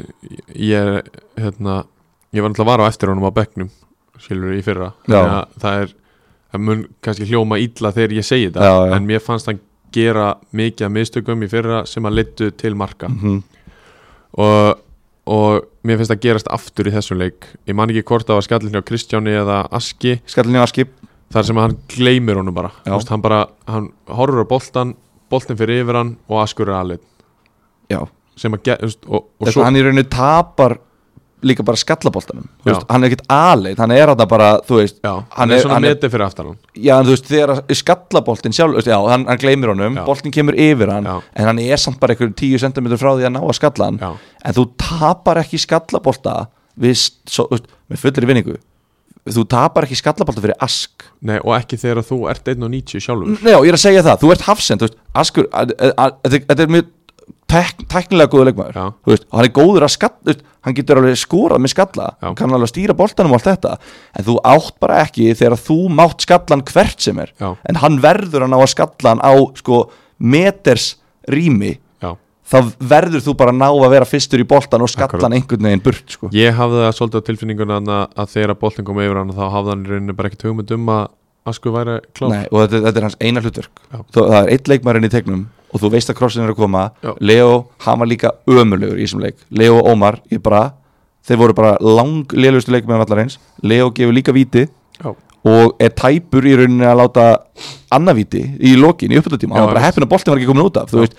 ég er hérna, ég var náttúrulega var á eftir honum á bekknum skilur í fyrra Já. Þannig að það er það mun kannski hljóma illa þegar ég segi þetta Já, já. en mér fannst hann gera mikið af mistökum í fyrra sem að leittu til marka Mhm. og, og mér finnst það gerast aftur í þessum leik ég man ekki hvort það var skallin hjá Kristjáni eða Aski skallin í askip þar sem að hann gleymir honum bara Já. Þú veist, hann bara, hann horfur á boltan boltin fyrir yfir hann og Askur er alveg já, sem að, ge- þú veist, og, og Þetta, svo hann í rauninu tapar líka bara skallaboltanum Já. Þú veist, hann er ekkert aðleit, hann er þetta bara þú veist, já, hann hann er- er svona hann er- metið fyrir aftan hann já en þú veist þegar að- skallaboltin sjálf, þú veist, já, hann, hann gleymir honum Já. boltin kemur yfir hann, Já. en hann er samt bara einhverjum 10 cm frá því að ná að skalla hann Já. en þú tapar ekki skallabolta við, st- svo, þú veist, með fullri vinningu þú tapar ekki skallabolta fyrir ask Nei, og ekki þegar þú ert 1.90 sjálfur Nei, já, ég er að segja það, þú ert hafsend þú veist, Askur, að- að- að- þetta þetta er mjög tek, teknilega góður leikmaður Já. Þú veist, og hann er góður að skalla þú veist, hann getur alveg skorað með skalla Já. kann alveg að stýra boltanum og allt þetta en þú átt bara ekki þegar þú mátt skallan hvert sem er Já. en hann verður að ná að skalla hann á sko, meters rými Já þá verður þú bara að ná að vera fyrstur í boltan og skalla hann einhvern veginn burt sko. Ég hafði það svolítið á tilfinninguna þarna að þegar að boltin kom yfir hann þá hafði hann í rauninni bara ekkert hugmynd um að Askur væri klár Nei, og þetta, þetta er hans eina hlutverk Já. Þó, það er eitt leikmærin í tegnum og þú veist að krossin er að koma Já. Leo, hann var líka ömulegur í þessum leik Leo og Ómar, ég bara þeir voru bara lang lélustu leikmærin allar eins Leo gefur líka víti Já, og er tæpur í rauninni að láta annað víti í lokin, í Já, uppöldatíma hann var bara veist. heppin að boltin var ekki komin út af þú Já. veist,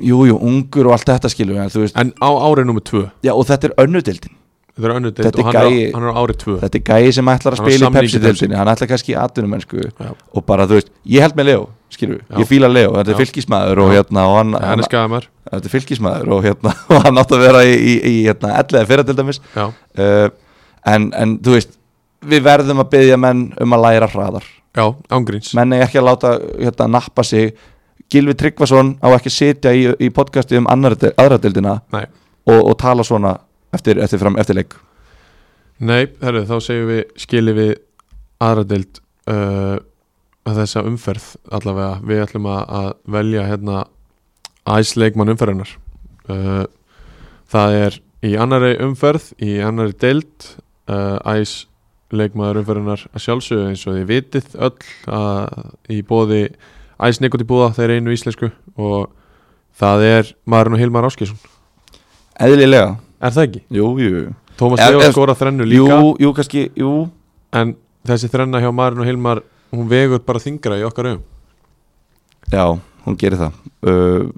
jú, jú, ungur og allt þetta skilur en, þú veist, En á árið nummer 2 já, og þetta er önnudeldin Þetta er önnur deild Þetta er og hann er, gæi- á- hann er á árið 2 þetta er gæi sem ætlar að Hann á spila í samning í Pepsi-deldinni hann ætlar kannski í atvinnumennsku Já. og bara þú veist, ég held með Leo skilur, Já. ég fíla Leo, þetta er Já. fylgismæður og hérna, og hann, Hann er skæðamær þetta er fylgismæður og hérna, og hann átt að vera í, í, í hérna, ellega fyrra til dæmis Já, uh, en, en þú veist við verðum að byggja menn um að læra hraðar já, ángríns menn er ekki að láta hérna, nappa sig Gilvi Tryggvason á ekki að sitja í, í podcasti um annar, aðra deildina Nei, og, og tala svona eftir, eftir, fram, eftir leik Nei herru, þá segjum við skilið við aðra deild uh, þessa umferð allavega Við ætlum að, að velja hérna æsleikmann umferðinar uh, Það er í annari umferð, í annari deild uh, æs leikmaður umferðunar að sjálfsögðu eins og þið vitið öll að í bóði æs neikot í búða þeir einu íslensku og það er maðurinn og Hilmar Áskjesson eðlilega, Er það ekki? jú, jú Tómas Er- Leo er- skora þrennu líka jú, jú, kannski, jú en þessi þrenna hjá maðurinn og Hilmar hún vegur bara þingra í okkar auðum Já, hún gerir það uh,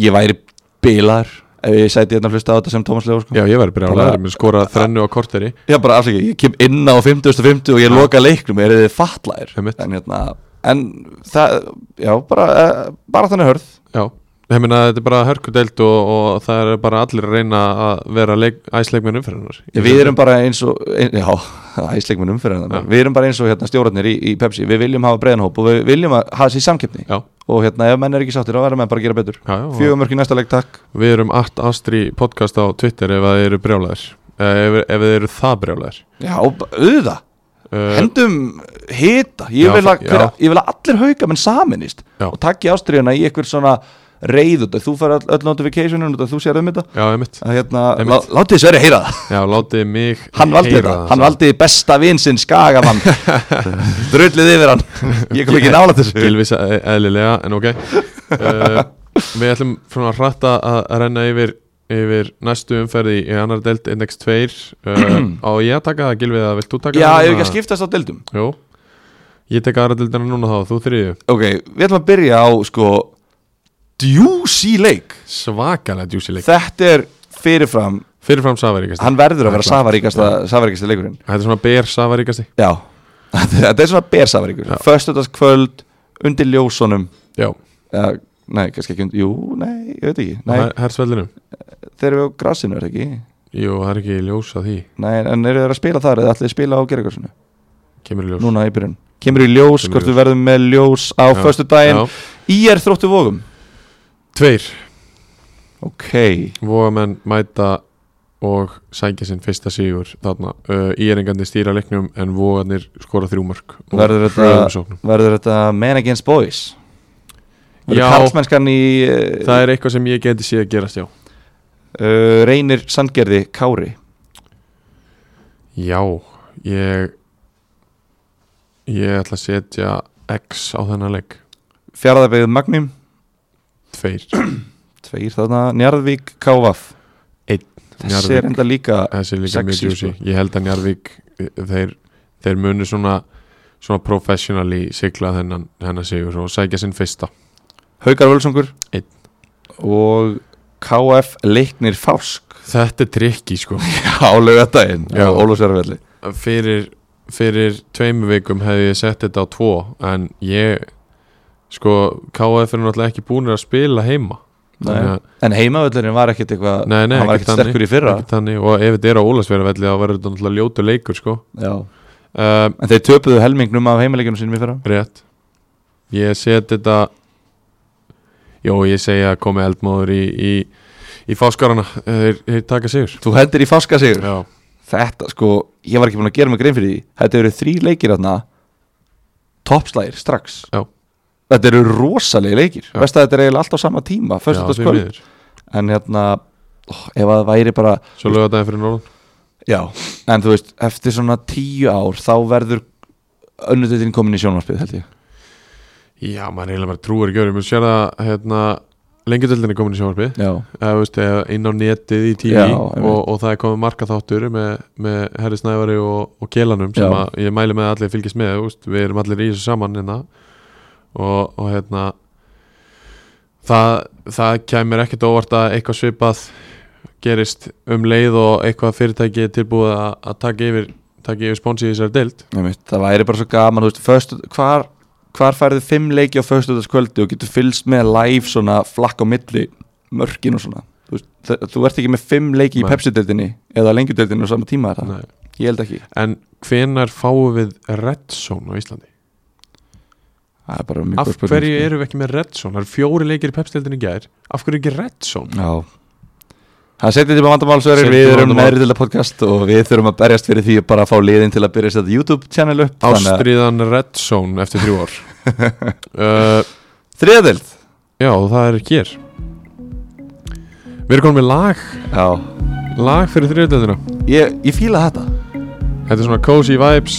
Ég væri bilar ef ég sæti hérna að hlusta á þetta sem Tómas Leó sko. Já, ég væri bara Bara- álæður, mér skora þrennu á korteri Já, bara afsækja, ég kem inn á 50.50 og ég Já. loka leiknum, er þið fatlaðir Einmitt. En hérna, en það, já, bara, uh, bara þannig hörð Já, ég meina þetta er bara hörkudelt og, og það er bara allir að reyna að vera leik, æsleikmenn umferðunar Við erum bara eins og, ein, já, æsleikminn umfyrir Já. hérna Við erum bara eins og hérna stjórarnir í, í Pepsi, við viljum hafa breiðanhóp og við viljum að hafa sér samkeppni Já, og hérna ef menn er ekki sáttir þá verður menn bara að gera betur já, já, og fjögur mörki næsta leik takk Við erum allt astri podcast á Twitter ef að þið eru brjálæðir eh, ef, ef þið eru það brjálæðir já, b- auða, uh, hendum hita, ég, Já, vil að, já. hver, ég vil að allir hauka menn saminist Já. og takki ástriðuna í einhver svona reið út af þú fær öll, öll notificationun út af þú sér um þetta Já, einmitt að hérna, Einmitt. lá, látið þessu verið heyra það Já, látið mig hann valdi heyra þetta, það. hann valdi besta vinn sinn skagamann drullið yfir hann ég kom ekki nála þessu Gilvis e- eðlilega, en ok uh, Við ætlum svona hratt að að renna yfir, yfir næstu umferði í annar delt index 2 uh, Á ég að taka það, Gilvi, að vilt þú taka já, það? ef við ekki að skiptast á deildum Jú, ég tek aðra deildina núna þá, þú þriðju ok, við ætlum að byrja á sko djúsi leik Svakalega djúsileik þetta er fyrirfram, Fyrirfram safaríkasti hann verður að vera Ætla. safaríkasta safaríkasta leikurinn Þetta er svona ber safaríkasti já, þetta er svona bersafaríkur Já. föstudagskvöld, undir ljósunum Já, uh, nei, kannski ekki undir, jú, nei, ég veit ekki nei, Her- hersvellinum þeir eru á grassinu, er það ekki Jú, það er ekki ljós að því nei, en eru þeir að spila þar eða ætlið þið að spila á gerðargrassinu Kemur í ljós núna í byrjun kemur í ljós, Kemur í hvort ljós. við verðum með ljós á Já, förstu daginn, já. í er þróttu vógum Tveir ok, Vóamenn mæta og sækja sinn fyrsta sigur þarna uh, Íringandi stýra leiknum en Vógarnir skora þrjú mörg Verður þetta- verður þetta men against boys verður Já. karlsmennskan í uh, Það er eitthvað sem ég geti séð að gerast já uh, reynir sandgerði Kári Já, ég ég ætla að setja X á þennan leik fjaraðabegð Magnum, Tveir tveir þarna Njarðvík Kávaf Einn. þessi er Njarðvík. enda líka Þessi er líka Sexy, mjög djúsi sko. Ég held að Njarvík þeir, þeir munu svona svona professionally sigla þennan, þennan sigur og sækja sinn fyrsta Haukar Völsungur Einn. og KF Leiknir Fásk Þetta er trikki sko á laugadaginn Já. á Ólafsjárvelli fyrir, fyrir tveimur vikum hefði ég sett þetta á tvo en ég sko, KF er náttúrulega ekki búinir að spila heima Þannig að- en heimavöllurinn var ekkit eitthvað Nei, nei, hann var ekkert ekkit sterkur í fyrra ekki þannig og ef þetta er á Ólasverðarvelli þá verður þetta náttúrulega ljótu leikur sko Já. uh, En þeir töpuðu helmingnum af heimileikinu sínum í fyrra rétt ég set þetta jó, ég segja að komi eldmóður í, í, í fáskarana þeir, þeir taka sigur Þú heldur í faska sigur já, Þetta sko, ég var ekki búin að gera mig grein fyrir því Þetta eru þrý leikir þarna Toppslægir strax Já. Þetta eru rosalegi leikir Já. Vest að þetta er eiginlega allt á sama tíma já því Föstudagskvöld miður. En hérna, ó, ef að það væri bara svo lögða daginn fyrir norðan Já En þú veist, eftir svona tíu ár Þá verður önnutöðin komin í sjónvarspið held ég já, maður eiginlega bara trúir ekki öðrum ég sér það, hérna, lengjadöldin er komin í sjónvarpið Já, eða veist, eða inn á netið í tími Já, einmitt. og, og það er komið marka þáttur með, með Herri Snævari og, og Kélanum sem Já. að ég mæli með að allir fylgjast með þú veist, við erum allir í þessu saman hérna og, og hérna það, það kemur ekkert á óvart að eitthvað svipað gerist um leið og eitthvað fyrirtæki er tilbúið að, að taka yfir taka yfir spónsi í þessari deild einmitt, það væri bara svo gaman þú veist, föstu, hvar, hvar færðu fimm leiki á föstudagskvöldi og getur fylgst með live svona flakk á milli mörkin og svona þú, veist, þe- þú ert ekki með fimm leiki í Nei. Pepsi-deltinni eða lengjudeltinni á sama tíma er það, Nei. ég held ekki en hvenar fáum við Red Zone á Íslandi? það er bara mjög Af góð spurning, hverju sko. erum við ekki með Red Zone? Það eru fjóri leikir í pepsdeildinu í gær Af hverju ekki Red Zone? Já. það setjum tíma vandamálsverðir Setjum við erum vandamál. meðri til að podcast og við þurfum að berjast fyrir því að bara fá liðin til að byrja að setja YouTube-channel upp þannig að- Ástriðan Red Zone eftir þrjú ár uh, þriðja deild Já, það er hér Við erum komin með lag já, Lag fyrir þriðutöðina ég, ég fíla þetta Þetta er svona cozy vibes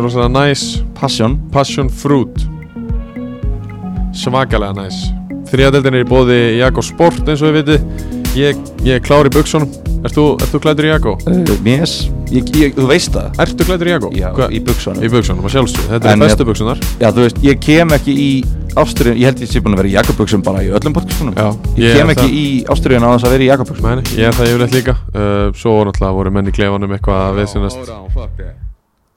Rosalega nice Passion Passion fruit Svakalega nice Þriðutöðin er í bóði Jakob Sport eins og við vitið Ég, ég er klár í buksunum Ert þú, ert þú klædur í Jakob? uh, yes. ég, ég, þú veist það Ertu klædur í Jakob? Já, í buksunum Í buksunum, að sjálfsög Þetta En eru bestu ég- buksunar Já, þú veist, ég kem ekki í ástriðun, ég held ég sé búin að vera í jakkabuxum bara í öllum podcastunum Já, Ég ég kem er ekki það. í ástriðun á þess að vera í jakkabuxum Mæni, ég er það yfirleitt líka uh, Svo náttúrulega voru menn í klefanum eitthvað að viðsynast Hold on, fuck that.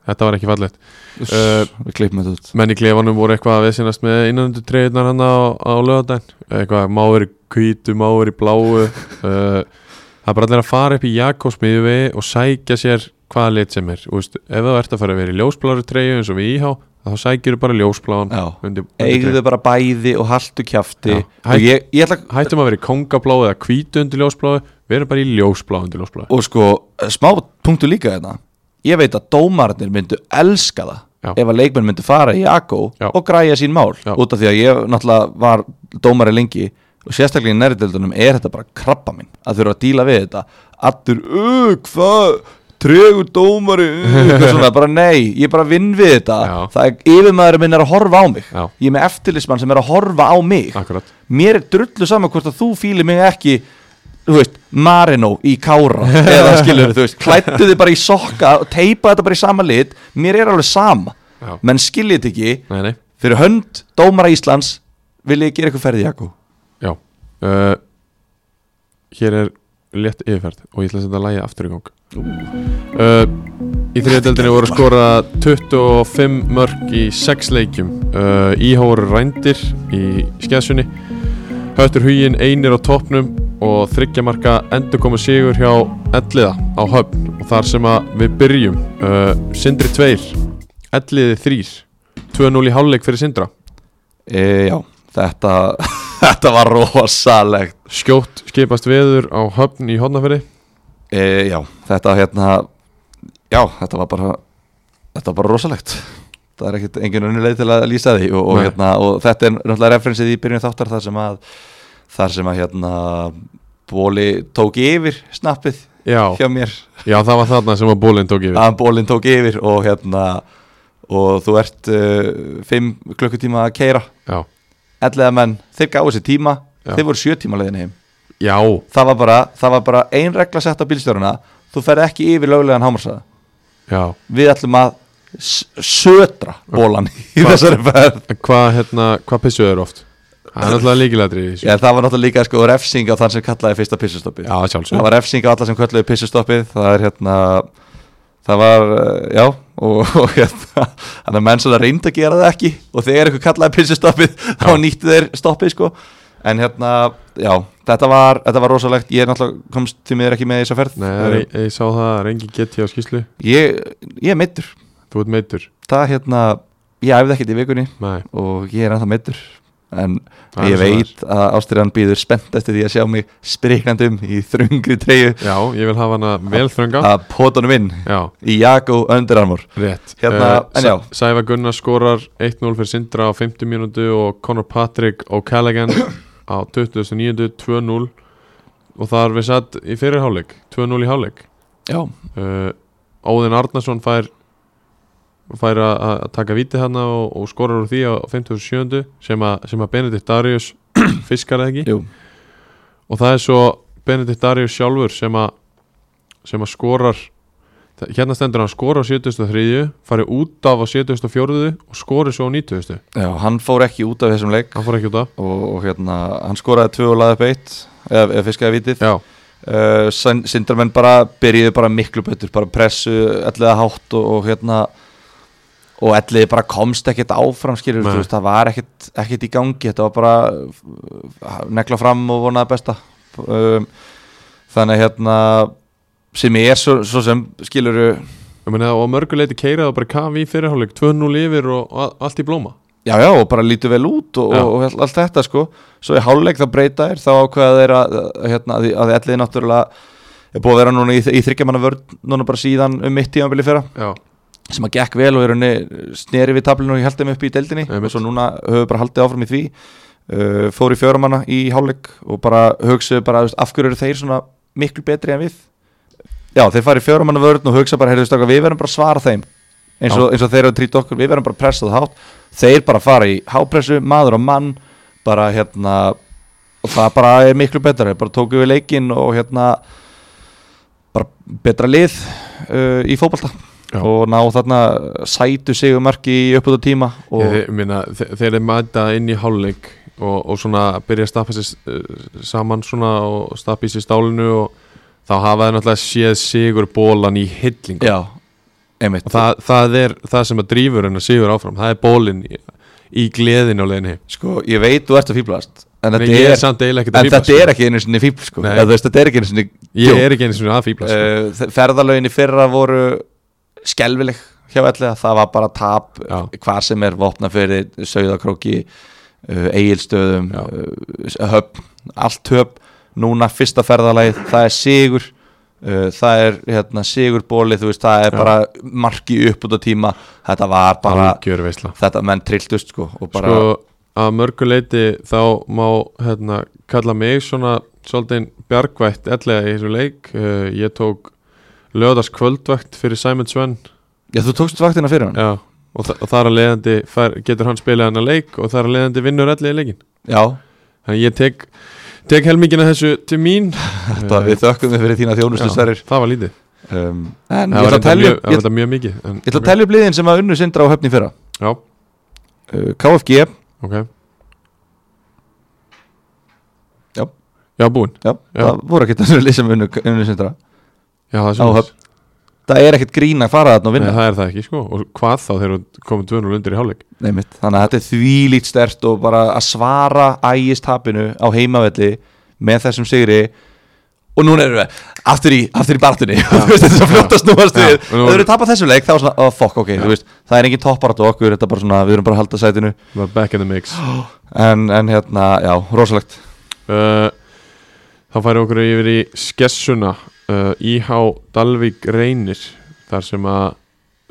Þetta var ekki fallegt Eh, uh, Við klippum þetta út Menn í klefanum voru eitthvað að viðsynast með innanundu treyðunar hann á, á lögadaginn Eitthvað máður í kvítu, máður í bláu uh, Það er bara allir að fara upp í Jakobsmiðvegi og sækja sér hvaða lit sem er Úst, Ef þú ert að fara að vera í ljósbláru treyju eins og við íhá þá sækjur bara ljósbláan Já. undir, eigðu undir þau bara bæði og haltu kjafti Já. og ég, ég ætla hættum að vera í kongablá eða hvítu undir ljósbláu við erum bara í ljósblá undir ljósbláu og sko, smá punktu líka þetta ég veit að dómarnir myndu elska það Já. ef að leikmenn myndu fara í Akko Já. og græja sín mál Já. út af því að ég náttúrulega var dómari lengi og sérstaklega í næriðildunum er þetta bara krabba minn að þurfa að díla við þetta allur, uh, hvað tregur dómari, uh, eitthvað svona, bara nei ég bara vinn við þetta Já. það er yfirmaðurinn minn er að horfa á mig Já. ég er með eftirlismann sem er að horfa á mig akkurat mér er drullu saman hvort að þú fíli mig ekki þú veist, Marino í kára eða skilur, þú veist, klættu þið bara í sokka og teipa þetta bara í sama lit mér er alveg sama, Já. menn skiljið þetta ekki nei, nei. fyrir hönd dómara Íslands vil ég gera eitthvað ferði Jakko Já uh, Hér er létt yfirferð og ég ætla að setja lægi aftur í gang uh, Í þriðadeldinni voru skora 25 mörg í 6 leikjum uh, Íhá voru rændir í skeðsunni Höttur huginn einir á toppnum og þryggja marka endur komið sigur hjá Elliða á höfn og þar sem að við byrjum uh, Sindri 2 Elliði 3 2-0 í hálfleik fyrir Sindra e, já, þetta þetta var rosalegt Skjótt skipast veður á höfn í hodnaferi e, já, þetta hérna já, þetta var bara þetta var bara rosalegt það er ekkert engin önnu leið til að lýsa því og, og, Nei. hérna, og þetta er náttúrulega referensið í byrjun þáttar þar sem að þar sem að hérna Bóli tók yfir snappið Já, hjá Ah. mér já það var þarna sem að bólinn tók yfir að Bólin tók yfir og hérna og þú ert uh, fimm klukkutíma að keira Já, ellega menn, þeir gáðu sér tíma Já. þeir voru sjö tíma leiðin heim já, það var bara, það var bara ein regla sett á bílstjóruna þú ferð ekki yfir löglegan hámarsaða já. við ætlum að s- södra bólan í þessari ferð En Hvað hérna, hvað pissuðu þeir oft? Það er náttúrulega líkilætri í þessu Já, það var náttúrulega líka sko refsing á þann sem kallaði fyrsta pissustoppið Já, það sjálfsög var refsing á alla sem kallaði pissustoppið það er hérna það var, eh, já og, og hérna, þannig að menn svona reyndi að gera það ekki og þegar ykkur kallaði pissustoppið þá Já. nýttu þeir stoppið sko en hérna, já, þetta var þetta var rosalegt, ég er náttúrulega komst því miður ekki með í þessa ferð Eh, Nei, það er, ég, ég sá það, það er engin geti á skýslu ég, ég er meittur Þú ert meittur það hérna, ég æfði ekkert í vikunni Nei, og ég er ennþá meittur en Það er ég svo veit að Ástriðan býður spennt eftir því að sjá mig spriknandum í þrungri treyju já, ég vil hafa hana vel þrönga að potunum inn Já, í Jakko Önderarmor rétt Eh, Hérna, en já. Sæ- Sævar Gunnar skorar 1-0 fyrir Sindra á 50 mínútu og Conor Patrick og Callaghan á 29. 2-0 og þar við satt í fyrirháleik 2-0 í háleik Já, uh, Óðinn Arnarsson fær fær að að taka víti hana og, og skorar úr því á 57. sem að, sem að Benedikt Darius fiskar það ekki jú, og það er svo Benedikt Darius sjálfur sem að sem að skorar það- hérna stendur hann skora á 73 fari út af á 74 og skori svo á 90 já, hann fór ekki út af þessum leik hann fór ekki út af og, og hérna, hann skoraði tvö og laði upp eitt eða, eða fiskaði vitið já, uh, Sindarmenn bara byrjuðu bara miklu betur, bara pressu elliða hátt og, og hérna og elliði bara komst ekkert áfram skilur, Nei. þú veist, það var ekkert, ekkert í gangi þetta var bara uh, negla fram og vonaði besta um, þannig að hérna sem ég er svo, svo sem skilur ég meina og að mörgu leiti keiraði bara kafi í fyrirháleik 2-0 yfir og, og a- allt í blóma já já og bara lítu vel út og, Já. og, og allt þetta sko svo í háluleik það breyta þér þá ákveða þeir að, að, hérna, að, að elliði náttúrulega er búið að vera núna í, í þryggjamanna vörn núna bara síðan um mitt tímanbili fyrra já, sem að gekk vel og í rauninni sneri við tablinu og ég held þeim upp í deildinni Einmitt. og svo núna höfum við bara haldið áfram í því uh, fóru í fjóramanna í hálfleik og bara hugsaðu bara þú veist, af hverju eru þeir svona miklu betri en við já þeir fara í fjóramanna vörðin og hugsa bara heyrðu stakka við verðum bara að svara þeim eins og, eins og þeir eru að trýta okkur við verðum bara að pressa það hátt þeir bara fara í hápressu maður og mann bara hérna og það bara er miklu betra þeir bara tóku við leikinn og hérna bara betra lið uh, í fótbalta Já. og ná þarna sætu sigumarki í uppöðu tíma og Ég minna, þe- þegar þeir mæta inn í hálfleik og, og svona byrja að stappa sér eh, saman svona og stappa í sér stálinu og þá hafa þeir náttúrulega séð sigur bólan í hyllingu já, einmitt og það, það er það sem að drífur hennar sigur áfram það er bólin í, í gleðin á leiðinni heim. sko, ég veit þú ert að fýblast en en þetta ég er, er samt eiginlega ekkert en að þetta er fýblast ekki einu sinni fýbl sko. Nei. eða, þú veist, þetta er ekki einu sinni sko. Eh, ég er ekki eins og að fýblast uh, ferðalögin í fyrra voru skelvileg hjá ellega, það var bara tap Já. hvar sem er vopna fyrir Sauðakróki, uh, Egilstöðum Já. uh, Höfn, allt höfn núna fyrsta ferðalagið, það er sigur uh, það er hérna, sigurbóli, þú veist, það Já. er bara marki upp út á tíma, þetta var bara algjör veisla þetta menn trilltust sko og bara, sko, að mörgu leiti þá má hérna, kalla mig svona svolítið bjargvætt ellega í þessu leik uh, ég tók lögðast kvöldvætt fyrir Simon Sven já þú tókst vaktina fyrir hann Já, og, þa og þar að leiðandi fær, getur hann spilað hann að leik og þar að leiðandi vinnur allir í leikin já, þannig að ég tek, tek helmingina þessu til mín þetta, Eh, við þökkum þið fyrir þína já, þjónustu stærri það var lítið um, en það ég var ætla að reyndar telja mjög, það upp- var ég reyndar mjög mikið en, ég ætla að telja upp liðin sem að unnu sindra á höfni fyrra já, uh, KFG, ok Já. já búinn, já, Já. það voru ekkert þessu lið sem unnu, unnu sindra já það er Á svoleiðis. það er ekkert grín að fara þarna og Nei, vinna það er það ekki sko og hvað þá þegar þú komum 200 undir í hálfleik Neymitt. þannig að þetta er þvílít stert og bara að svara ægistapinu á heimavelli með þessum sigri og núna erum við aftur í, aftur í barðunni þetta er svo fljótt að snúast Já. við Og ef nú- við erum tapað þessum leik þá er svona, oh fuck, ok, þú veist það er engin topparat okkur, þetta er bara svona, við erum bara að halda sætinu það var back in the mix Eh, en, en hérna, já, rosalegt uh, þá færum við okkur yfir í skessuna uh, IH Dalvík Reynir þar sem að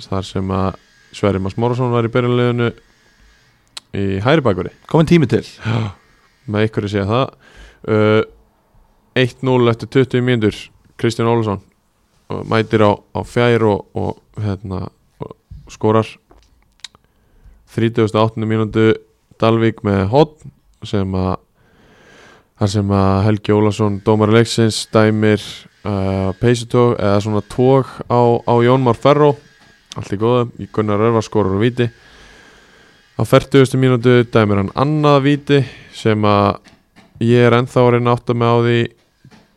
þar sem að Sverri Mas Mórasson var í byrjanleginu í hæri bakveri komin tími til með ykkur að segja það uh, 1-0 eftir 20 mínútur Kristján Ólafsson uh, mætir á, á fjær og, og, hérna, og skorar 38. mínútu Dalvik með hotn sem að þar sem að Helgi Ólafsson dómar leiksins dæmir uh, peysutog eða svona tóg á, á Jónmar Ferro allt í góða, í Gunnar Örvar skorar og viti á 40. mínútu dæmir hann annað viti sem að ég er ennþá að reyna að átta mig á því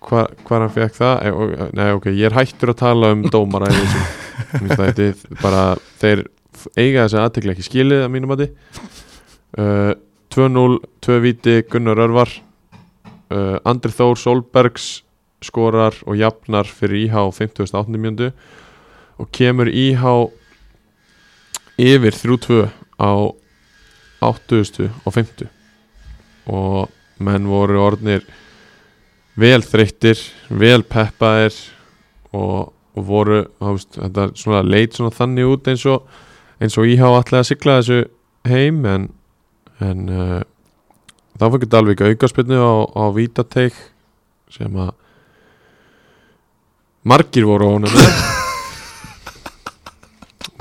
hva, hvað hann fekk það e, og, nei ok, ég er hættur að tala um dómara í þessu Mér finnst það eitthvað bara þeir f- eiga þessi aðtekla ekki skilið að mínum að uh, 2-0 2 viti Gunnar Örvar uh, Andri Þór Solbergs skorar og jafnar fyrir IH á 58. mjöndu og kemur IH yfir 3-2 á 80. og 50 og menn voru orðnir vel þreyttir vel peppaðir og, og voru þú veist, þetta svona leit svona þannig út eins og eins og íhá allega að sigla þessu heim en, en uh, þá fengur Dalvík aukarspilnu á, á Vítateik sem að margir voru óanað með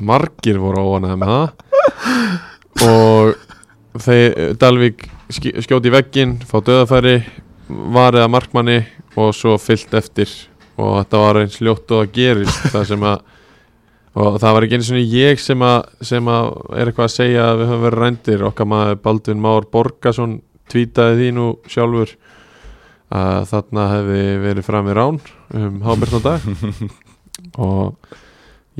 margir voru óanað með það og þeir eh, Dalvík skj- skjóti í veggin fá döðafæri varið að markmanni og svo fyllt eftir og þetta var eins ljótt og það gerist það sem að og það var ekki einu svona ég sem að, sem að er eitthvað að segja að við höfum verið rændir okkar maður Baldvin Már Borgason tvítaði því nú sjálfur að þarna hefði verið fram í rán um hábjörn á dag og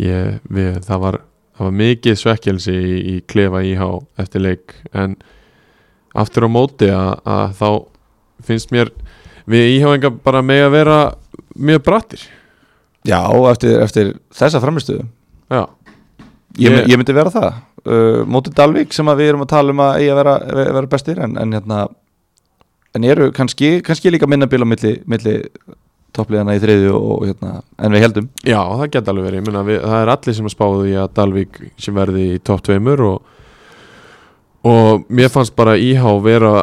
ég, við, það var það var mikið svekkelsi í, í klefa íhá eftir leik en aftur á móti að, að þá finnst mér við íháinga bara mega vera mjög brattir já, eftir, eftir þessa framistuðu já, Ég, Ég- ég myndi vera það uh, Mótið Dalvik sem að við erum að tala um að eiga að vera, ve- vera bestir en, en hérna en eru kannski, kannski líka minna bíl á milli, milli toppliðana í þriðju og hérna, en við heldum Já, það geta alveg verið, ég meina við, það er allir sem að spáðu í að Dalvík sem verði í topp tveimur og, og mér fannst bara íhá vera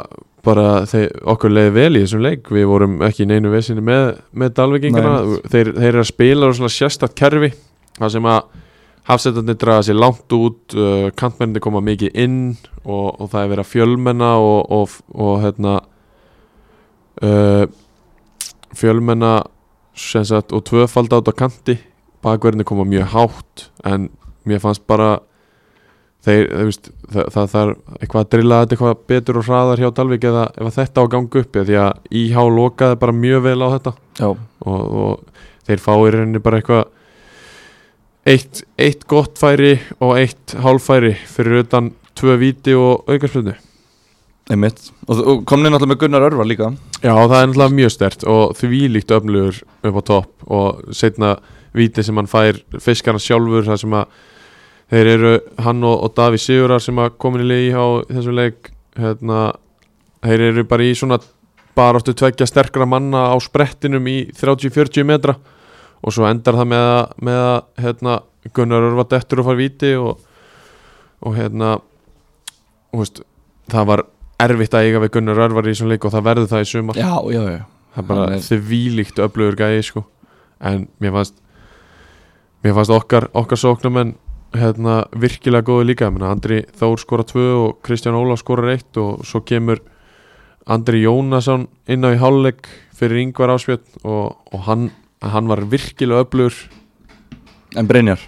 bara þeir, okkur leiði vel í þessum leik við vorum ekki í neinu vesinni með, með Dalvíkingana, Nei. þeir, þeir eru að spila á svona sérstakt kerfi, það sem að hafsettarnir draga sér langt út uh, kantmennir koma mikið inn og, og það er verið að fjölmenna og, og, og hérna uh, fjölmenna sem sagt, og tvöfald át á kanti bakverðinni koma mjög hátt en mér fannst bara þeir, þeir veist, það, það þarf eitthvað að drilla þetta eitthvað betur og hraðar hjá Dalvik eða ef að þetta á að ganga upp eða því að IH lokaði bara mjög vel á þetta Já, og, og þeir fá í rauninni bara eitthvað eitt, eitt gott færi og eitt hálfæri fyrir utan tvö víti og aukarspilnu einmitt og, og komnið náttúrulega með Gunnar Örvar líka Já, það er náttúrulega mjög stert og því líkt ömlugur upp á topp og setna víti sem hann fær fiskar hann sjálfur það sem að Þeir eru hann og, og Daví Sigurar sem að komin í liði á þessum leik hérna, þeir eru bara í svona bara áttu tveggja sterkra manna á sprettinum í 30-40 metra og svo endar það með að, með að hérna, Gunnar Örva dettur og far viti og, og hérna og veist, það var erfitt að eiga við Gunnar Örvar í þessum leik og það verður það í sumar já, já, já það er bara Hann er- þvílíkt öflugur gæi sko. en mér fannst mér fannst okkar, okkar sóknumenn hérna, virkilega góðu líka Ég meina, Andri Þór skora tvö og Kristján Ólaf skora eitt og svo kemur Andri Jónasson inn á í hálfleik fyrir yngvar áspjöld og, og hann, hann var virkilega öflugur en Brynjar,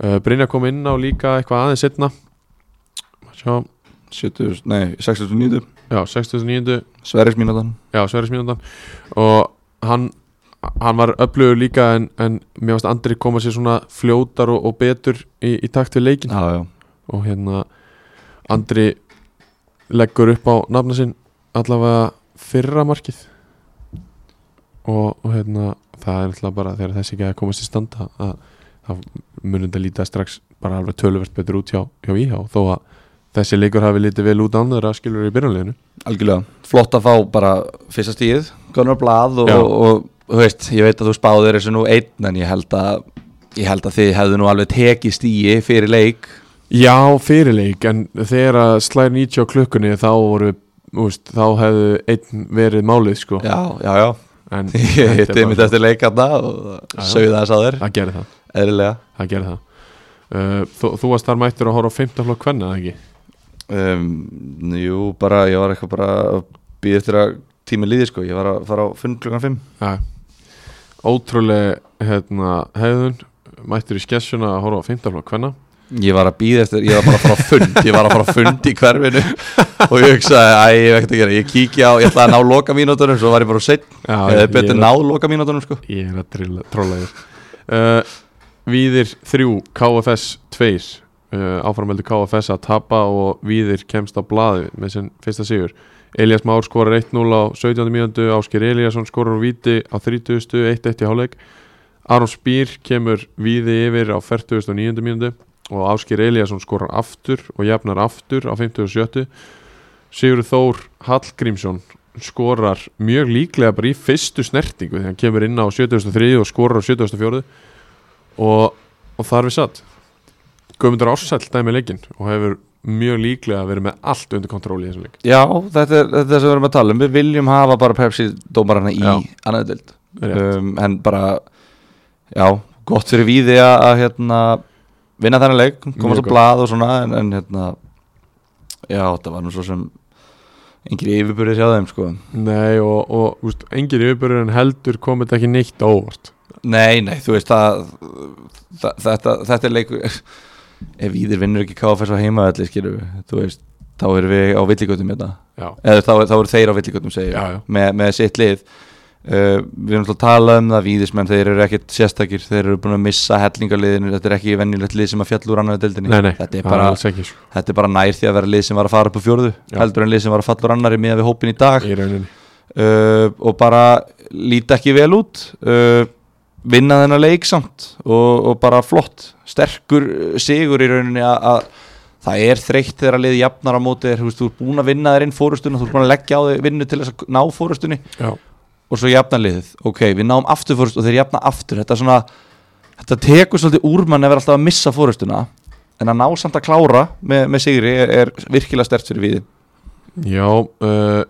uh, Brynja kom inn á líka eitthvað aðeins setna Sjá, 70, nei, 69 já, 69. Sveris mínútan Já, Sverrismínundan og hann, hann var öflugur líka en, en mér varst Andri koma sér svona fljótar og, og betur í, í takt við leikin já, já, og hérna Andri leggur upp á nafna sinn allavega fyrra markið og, og hérna það er alltaf bara þegar þessi ekki að komast í standa að það munum þetta líta strax bara alveg töluvert betur út hjá, hjá íhá þó að þessi leikur hafi litið vel út án þeirra skilur í byrjanleginu algjörlega flott að fá bara fyrsta stíð Gunnar Blað og, Já. og, og þú veist, ég veit að þú spáðir þessu nú einn en ég held að ég held að þið hefðu nú alveg tekið stíi fyrir leik Já, fyrirleik, en þegar að slæri 90 á klukkunni þá voru úst, þá hefðu einn verið málið sko já, já, já, en ég þetta hitti er mitt bara- eftir leikarna og Já, já. sögðu þess að þér Það gerir það, eðlilega það gerir það uh, þú, þú varst þar mættur að horfa á 15 flokk kvenna, eða ekki? um, jú, bara, ég var eitthvað bara að býða eftir að tími líði sko, ég var að fara á fund klukkan 5 Já Ótrúlega hérna, hefðun mættur í skessuna að horfa á 15 flokk kvenna Ég var að býða eftir, ég var bara að fara á fund Ég var að fara á fund í hverfinu Og ég hugsaði, æ, ég veit ekki að gera Ég kíkja á, ég ætlaði að ná loka mínútunum Svo var ég bara seitt, Já, eða ég- betur ég, er ná að- loka mínútunum sko. Ég er að trilla, trolla þér uh, Víðir 3, KFS 2 uh, áframeldu KFS að tapa og Víðir kemst á blaði með sinn fyrsta sigur Elías Már skorar 1-0 á 17. mínútu Ásker Elíasson skorar úr víti á 30. 1-1 í hálfleik Aron Spýr kemur Víði yfir á 49. mínútu og Ásker Elíasson skorar aftur og jafnar aftur á 57. Sigur Þór Hallgrímsson skorar mjög líklega bara í fyrstu snertingu þegar hann kemur inn á 73. og skorar á 74. og, og þar við satt Guðmundur Ársæll dæmi leikinn og hefur mjög líklega verið með allt undir kontról í þessum leik Já, þetta er þetta er það sem við erum að tala um Við viljum hafa bara Pepsi dómarana í Já. annaðu dild Rétt. um, En bara, já, gott fyrir víði að, að hérna, vinna þennan leik Komast Mjög á gott. blað og svona En, en hérna, já, þetta var nú svo sem Engir yfirburðir hjá þeim sko. Nei og, og úst, engin yfirbörður en heldur kom þetta ekki neitt á óvart Nei, nei, þú veist það, það þetta, þetta er leikur ef Íðir vinnur ekki KFS á heimaðalli skilur við, þú veist þá erum við á villigötum hérna Já, eða þá, þá eru þeir á villigötum segir já, ég, já, með, með sitt lið uh, við erum alltaf að tala um það Víðismenn, þeir eru ekkert sérstakir þeir eru búin að missa hellingarliðinu þetta er ekki venjulegt lið sem að fjalla úr annaðu deildinni nei, nei, þetta, er það er bara, alls ekki sko, þetta er bara nær því að vera lið sem var að fara upp á fjórðu Já. heldur en lið sem var að falla úr annari miða við hópin í dag í rauninni uh, og bara líti ekki vel út uh, vinna þennan leik samt og, og bara flott sterkur uh, sigur í rauninni að- að það er þreytt þegar að liði jafnar á móti þér, þú veist, þú ert búin að vinna þér inn fórustuna þú ert búin að leggja á þig vinnu til þess að ná fórustunni Já, og svo jafna liðið, ok, við náum aftur fórust og þeir jafna aftur, þetta er svona þetta tekur svolítið úr mann ef er alltaf að missa fórustuna en að ná samt að klára með, með sigri er, er virkilega stert fyrir við já uh,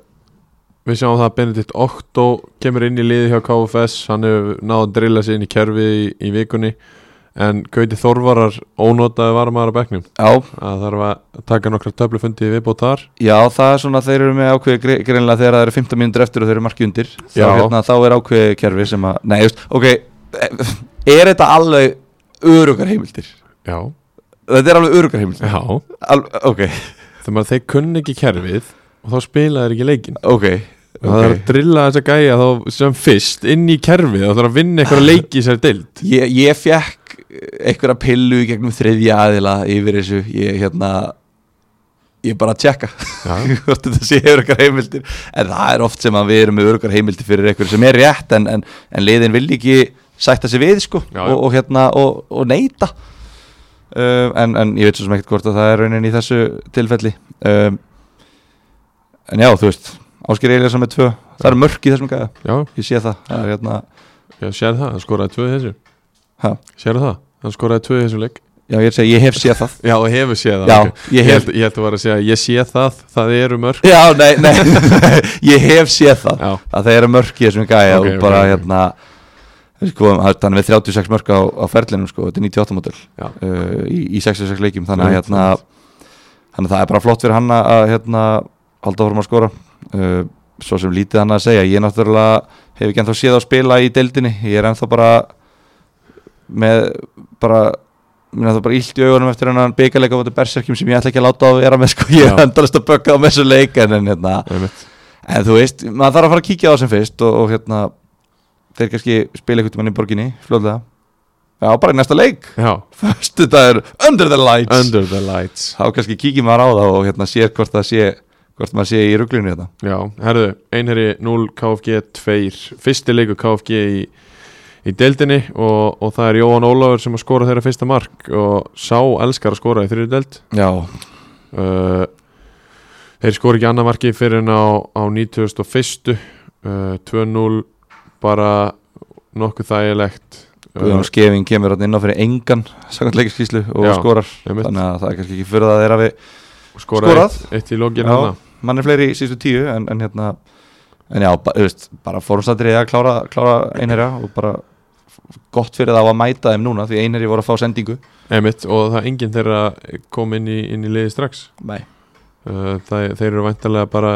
við sjáum það að Benedikt Okto kemur inn í liði hjá KFS hann hefur náð að drilla sig inn í kerfið í, í vikunni en Gauti Þorvarar ónotaði varmaðar á bekknum Já, að þarf að taka nokkra töflufundi viðbót þar Já, það er svona, þeir eru með ákveði gre- greinlega þegar það eru 15 mínútur eftir og þeir eru marki undir þá, Já. hérna, þá er ákveði kerfi sem að, nei, just, ok eh, er þetta alveg örugar heimildir? Já, Þetta er alveg örugar heimildir? já Al ok, þegar maður þeir kunni ekki kerfið og þá spila þeir ekki leikin ok það er að okay. drilla þess að gæja þá sem fyrst inn í kerfið og það er að vinna eitthvað leiki sér dild Ég, ég fekk einhverja pillu í gegnum þriðja aðila yfir þessu, ég hérna ég bara tjekka Já, hvort þetta sé örugar heimildir en það er oft sem að við erum með örugar heimildir fyrir einhverju sem er rétt en, en, en liðin vil ekki sætta sig við sko Já, já. og, og hérna og, og neyta uh, en, en ég veit svo sem ekkert hvort að það er raunin í þessu tilfelli um, en já, þú veist Ásker Eliasson með tvö, það er mörk í þessum gæða Já, ég sé það, það er hérna ég sér það, hann skoraði tvö í þessu Ha? Sér það, hann skoraði tvö í þessu leik já, ég er að segja, ég hef séð það Já, og hefur séð það já, ok. ég Ég hef held, ég held að vera að segja, ég sé það, það eru mörg já, nei, nei, ég hef séð það Já, að það eru mörk í þessum gæja Ok, og ok, bara ok. hérna sko, hann er með 36 mörk á, á ferlinum sko, þetta er 98 mótil Já. uh, í, í 66 leikjum þannig að Einmitt, hérna þannig að það er bara flott fyrir hann að- að hérna halda fórum að skora uh, svo sem lítið hann að segja, ég náttúrulega hef ekki ennþá séð að spila í deildinni ég er ennþá bara með bara minna það bara illt í augunum eftir hennan byggarleika á þetta berserkjum sem ég ætla ekki að láta á að vera með sko, ég er Já. endalist að bögga á með þessu leik en, en hérna, einmitt En þú veist, maður þarf að fara að kíkja á það sem fyrst og, og hérna, þeir kannski spila eitthvað mann í borginni, fljóðlega Já, bara í næsta leik Já, Föstu það er under the lights under the lights Þá kannski kíkir maður á það og hérna sér hvort það sé hvort maður sé í hérna. ruglunni þetta Já, herðu, einherri 0 KFG 2 Fyrsti leiku KFG í, í deildinni og, og það er Jóhann Ólafur sem að skora þeirra fyrsta mark og sá elskar að skora í þriðju deild Já, uh, Þeir skora ekki annað marki fyrir en á, á 91. Uh, 2-0 bara nokkuð þægilegt Guðjón Skefing kemur hérna inn á fyrir engan samkvæmtleikiskíslu og Já, skorar Uh, einmitt. Þannig að það er kannski ekki fyrir það þeirra við skorað skorað. eitt, eitt í lokin Já. hana mann er fleiri í síðustu tíu en, en hérna en já, ba, þú veist, bara fórumstættrið að klára, klára einherja og bara gott fyrir það að mæta þeim núna því einherji voru að fá sendingu Emitt, og það enginn þeirra kom inn í, inn í liði strax Nei. uh, það, þeir eru væntalega bara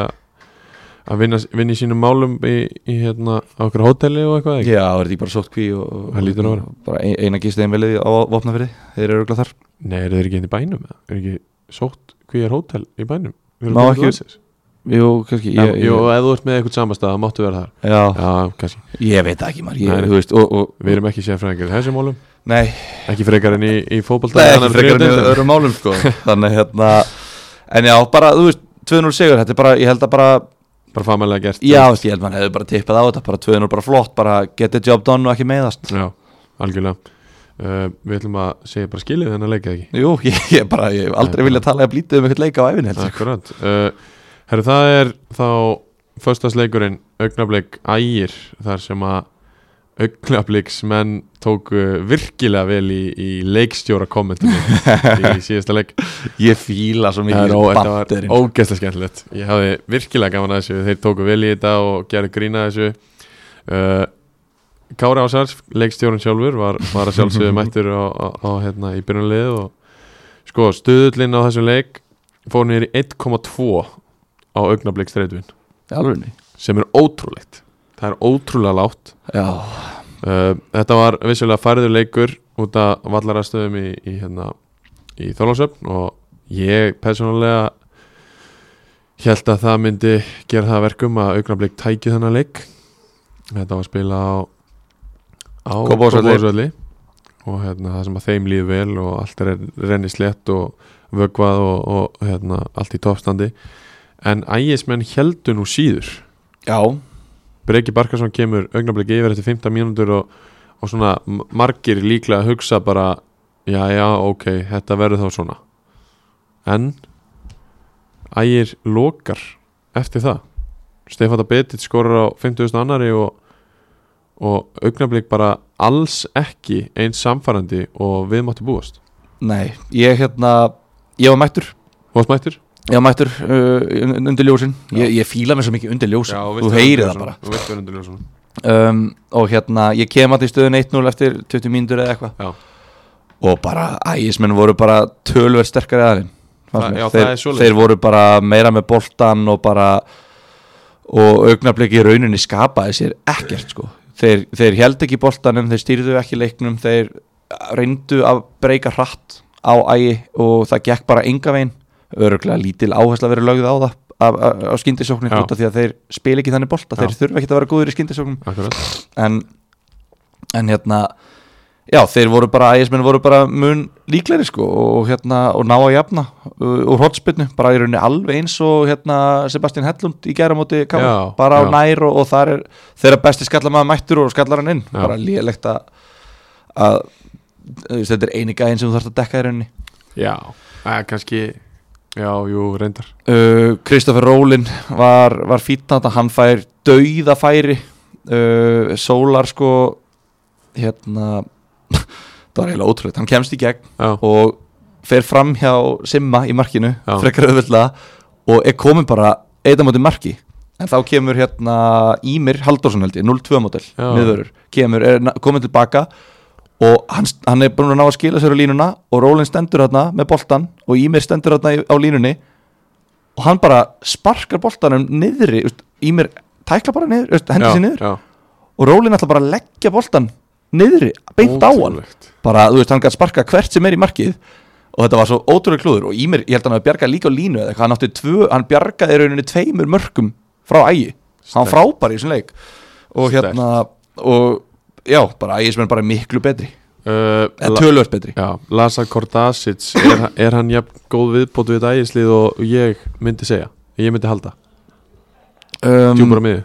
að vinna, vinna í sínum málum í, í hérna á okkur hóteli og eitthvað ekki? já, það er því bara sótt kví og, og Það lítur að vera. bara ein, eina gist þeim velið á vopnafyrði þeir eru auðvitað þar Nei, eru þeir ekki inn í bænum? eða? Er ekki sótt hví er hótel í bænum? Eru Má þeir ekki- landsins? jú, kannski Já, ég, Jú, ég, og ef þú ert með eitthvað samastað það máttu vera þar já, Já, kannski, ég veit það ekki maður Nei, ég, nei. þú veist, og, og við erum ekki sérfræðingar í þessum málum nei, ekki frekar en í, í fótbolta það er Þannig ekki að frekar þriðju en í deildina. öðrum málum sko. þannig hérna en já, bara, þú veist, 200 sigur þetta er bara, ég held að bara Bara famalega gert Já, veist, ég held mann hefði bara tippað á þetta bara tvöðin og bara flott, bara get the job done og ekki meiðast Já, algjörlega uh, Við ætlum að segja bara skilið þennan leikið ekki Jú, ég, ég bara, ég hef aldrei Nei, viljað tala eða blítið um eitthvað leika á æfinni heldur Akkurat uh, Herru, það er þá Föstasleikurinn augnablik ægir Þar sem að augnabliksmenn tóku virkilega vel í, í leikstjóra kommentinu í síðasta leik Ég fíla svo Það er mikið ó- Þetta var batterinn ógeðslega skemmtilegt Ég hafði virkilega gaman að þessu Þeir tóku vel í þetta og gerðu grína þessu uh, Kári Ásars leikstjórun sjálfur var, var að sjálfsögðu mættur á, á, á hérna í byrjunlið og sko stuðullin á þessum leik fór niður í 1,2 á augnablik streytvin Alveg ný sem er ótrúlegt Það er ótrúlega lágt Já, Uh, þetta var vissulega færður leikur út af vallarastöðum í, í, hérna, í Þorlásöfn og ég persónulega held að það myndi gera það að verkum að augnablík tæki þennan leik þetta var að spila á á Kópavogsvelli. Kópavogsvelli og hérna, það sem að þeim líður vel og allt er renni slett og vögvað og, og hérna, allt í toppstandi en ægismenn heldur nú síður já, Breki Barkarsson kemur augnablik yfir eftir 15 mínútur og, og svona m- margir líklega að hugsa bara já, já, ok, þetta verður þá svona en ægir lokar eftir það Stefán Betit skorar á 50.000 annari og, og augnablik bara alls ekki eins samfærandi og við máttu búast nei Ég hérna, ég var mættur Þú varst mættir? Ég var mættur uh, un- undir ljósin Já. ég, ég fíla mér svo mikið undir ljósin Þú heyrir það bara Þú veist verður undir ljósunum um, Og hérna, ég kem að því stöðun 1-0 eftir 20 mínútur eða eitthvað Já. Og bara, ægismenn voru bara tölver sterkari aðeins Það- já, það þeir, er svoleiðis. þeir voru bara meira með boltan og bara Og augnablik í rauninni skapaði sér ekkert sko Þeir, þeir held ekki boltanum, þeir stýrðu ekki leiknum Þeir reyndu að breyka hratt á ægi Og það gekk bara enga veginn Öruglega lítil áhersla verið lögð á það Á, á, á skyndisóknir Já. út af því að þeir spila ekki þannig bolta Þeir þurfa ekki að vera góður í skyndisóknum Akkurat en, en hérna já, þeir voru bara, ægismenn voru bara mun líkleri sko og hérna og ná að jafna uh, úr hotspinnu, bara í rauninni alveg eins og hérna Sebastian Hellund í gæra móti KR, Já, bara á já. nær og, og þar er þeirra besti skallamæður mættur og skallar hann inn Já. bara lélegt að að þú veist, þetta er eini gæðin sem þú þarfst að dekka í rauninni Já, að, kannski Já, jú, reyndar Uh, Kristoffer Rólin var, var fýtt þetta, hann fær dauða færi uh, Sólar sko hérna það var eiginlega ótrúlega, hann kemst í gegn Já, og fer fram hjá Simma í markinu, Já. frekar auðvöldlega og er komin bara eitthvað móti marki en þá kemur hérna Ímir Halldórsson held ég, 0-2 mótel Já. miðvörur, kemur, er na- komin tilbaka og hann, st- hann er búin að ná að skila sér á línuna og Rólin stendur hérna með boltan og Ímir stendur hérna í- á línunni og hann bara sparkar boltanum niðri, veist, Ímir tækla bara niður, veist, hendi já, sér niður já. og Rólin ætla bara að leggja boltan niðri, beint á hann Ótrúlegt. bara, þú veist, hann gæti sparka hvert sem er í markið og þetta var svo ótrúlega klúður og Ímir, ég held að hann hafi bjargað líka á línu eða eitthvað, hann átti tvö, hann bjargaði í rauninni tveimur mörkum frá ægi, hann var frábær í þessum leik og Sterkt. hérna og já, bara ægismenn bara miklu betri uh, eða la- tölvöld betri Já, Lasa Kordasic er, er hann jafn góð viðbót við þetta ægislið og ég myndi segja ég myndi halda, um, djúpar á miðu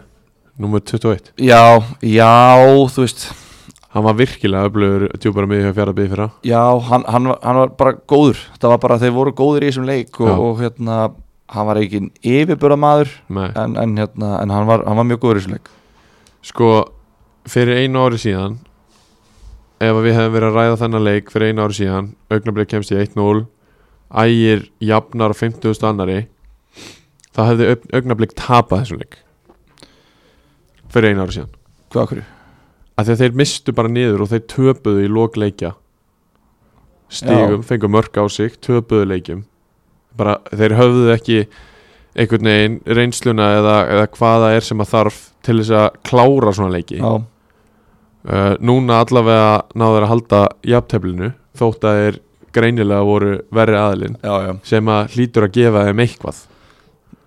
nummer 21, já, já, þú veist hann var virkilega öflugur djúpar á miðu hjá fjara byggði fyrra já, hann, hann, var- hann var bara góður það var bara, þeir voru góður í þessum leik og, Já. og hérna, hann var ekki yfirbörða maður Nei. en, en, hérna, en hann, var, hann var mjög góður í þessum leik Sko, fyrir einu ári síðan ef að við hefum verið að ræða þennan leik fyrir einu ári síðan, augnablik kemst í 1-0 ægir jafnar á 50.000 annari það hefði augn- augnablik tapað þessum leik fyrir einu ári síðan hvað okkur? af því að þeir mistu bara niður og þeir töpuðu í lokleikja stigum, fengu mörg á sig töpuðu leikjum bara þeir höfðu ekki einhvern veginn reynsluna eða, eða hvaða er sem að þarf til þess að klára svona leiki Já. uh, núna allavega náður að halda jafnteflinu þótt að þeir greinilega voru verri aðilinn Já, já. sem að hlýtur að gefa þeim eitthvað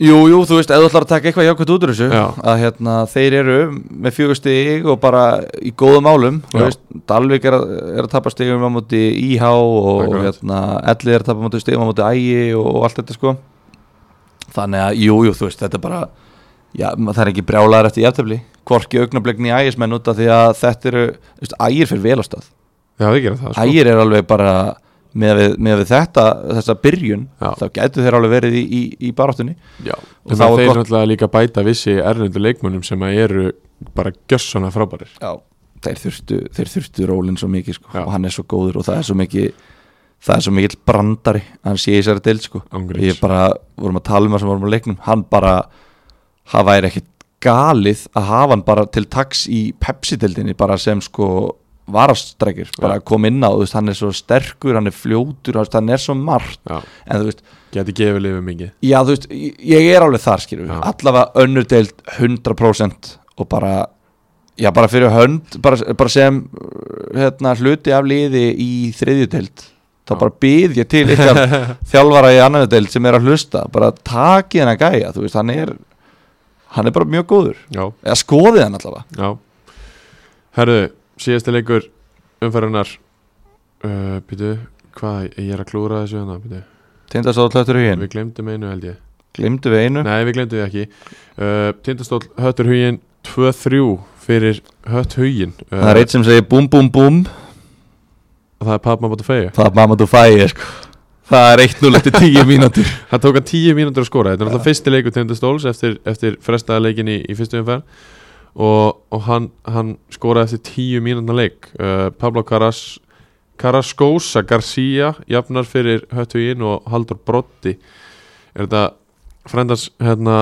Jú, jú, þú veist, ef þú ætlar að taka eitthvað jákvæmt út úr þessu Já. að hérna, þeir eru með fjögur stig og bara í góðum álum þú Já. veist, Dalvik er að, er að tapa stigum á móti IH og, og Akkurat. hérna, Elli er að tapa á móti stigum á móti ægi og, og allt þetta sko þannig að, jú, jú, þú veist, þetta er bara já, ma- það er ekki brjálæðar eftir jafntefli hvorki augnablikni ægismenn út af því að þetta eru, þú veist, ægir fyrir vel á stað Já, þeir gera það sko. ægir er alveg bara með við, með við þetta, þessa byrjun Já. þá gætu þeir alveg verið í, í, í baráttunni Já, Og og þá það er þeir gott- náttúrulega líka bæta vissi erlendu leikmönnum sem að eru bara gjössana frábærir Já, þeir þurftu, þeir þurftu rólinn svo mikið sko, Já. og hann er svo góður og það er svo mikið það er svo mikill brandari hann sé í þessari deild sko Ángríns. ég bara, vorum að tala um það sem vorum að leiknum hann bara, það væri ekkit galið að hafa hann bara til taks í Pepsi-deildinni bara sem sko varastrækir, bara Já. að koma inn á þú veist, hann er svo sterkur, hann er fljótur þú veist, hann er svo margt, Já, en þú veist geti gefið liðið mikið Já, þú veist, ég- ég er alveg þar, skilur við Já. Allavega önnur deild 100% og bara, já, bara fyrir hönd bara, bara sem uh, hérna, hluti af liði í þriðju deild þá Já. bara byð ég til ykkar þjálfara í annan deild sem er að hlusta bara takið hann að gæja, þú veist, hann er hann er bara mjög góður Já, eða skoðið hann allavega já Herðu, síðasti leikur umferðarnar uh, Býtu, hvað, ég er að klúra þessu hana Býtu, Tindastóll hlutur huginn, við glemdum einu held ég glimtu við einu Nei, við glemdum við ekki uh, Tindastóll, Höttur Hugin 2-3 fyrir Hött Hugin uh, það er eitt sem segir búm búm búm Það er Papma Bóta Feyja það er mamma þú fæi, sko það er 1-0 eftir 10 mínútur Það tók hann 10 mínútur að skora Þetta er alltaf fyrsti leikur Tindastóls eftir, eftir frestaða leikin í, í fyrstu umferð og, og hann, hann skoraði eftir 10 mínútur leik uh, Pablo Caras Carrascosa Garcia jafnar fyrir Höttugin og Haldur Brotti er þetta frendans hérna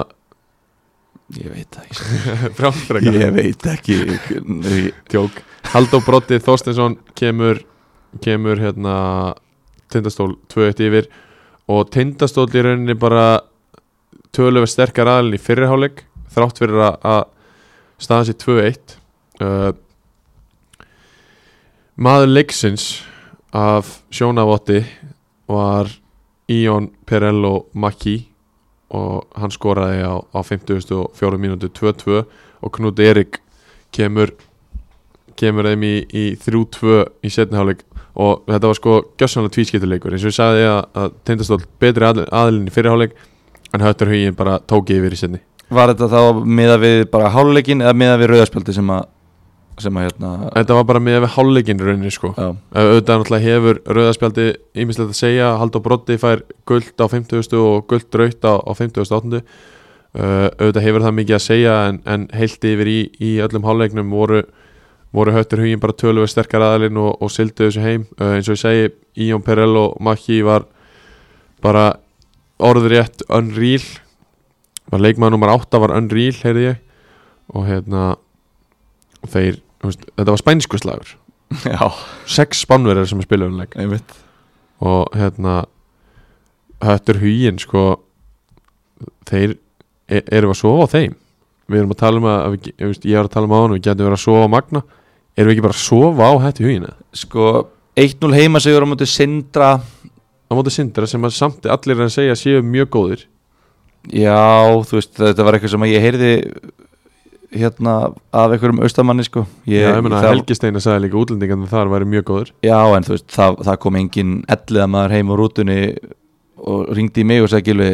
ég veit það, ég framfrekar Ég veit ekki ég- tjók Haldur Brotti Þorstinsson kemur kemur hérna Tindastól 2-1 yfir og Tindastól í rauninni bara tölöfur sterkar aðalinn í fyrirháleik þrátt fyrir að, að staða sér 2-1 uh, maður leiksins af sjónavotti var Ion Perello Maki og hann skoraði á, á 54 mínútu 2-2 og Knut Erik kemur kemur þeim í, í 3-2 í setniháleik og þetta var sko gjössanlega tvískiptuleikur eins og ég sagði að, að tindastóll betri aðl- aðilinn í fyrirháleik en höttur hugin bara tók yfir í setni Var þetta þá miða við bara háluleikin eða miða við rauðaspjaldi sem að sem að hérna Þetta var bara með við hálfleikinn í rauninni sko já, Eh, auðvitað náttúrulega hefur rauðaspjaldi ímislegt að segja, Haldur Broddi fær guld á 50. og guld raut á, á 58. Uh, auðvitað hefur það mikið að segja en, en heilt yfir í, í öllum hálfleiknum voru, voru höttur hugin bara töluvert sterkar aðalinn og, og sildu þessu heim uh, eins og ég segi, Íon Perello Maki var bara orðrétt unreal var leikmaður nummer 8 var unreal, heyrði ég og hérna þeir, þú veist, þetta var spænsku slagur já, sex spánverðar sem spila um leik einmitt og hérna höttur huginn sko þeir e erum við að sofa á þeim við erum að tala um að, að við, ge- ég, veist, ég var að tala um á hann við getum verið að sofa á Magna erum við ekki bara að sofa á hættu hugina sko 1-0 heima sigur á múti Sindra á móti sindra sem að samt allir er að segja séu mjög góðir já, þú veist, þetta var eitthvað sem að ég heyrði hérna af einhverjum austamanni sko ég, já, ég meina það- Helgi Steina sagði líka útlendingarnir þar væri mjög góðir Já, en þú veist, það, það kom engin elliða maður heim á rútunni og ringdi í mig og sagði gilvi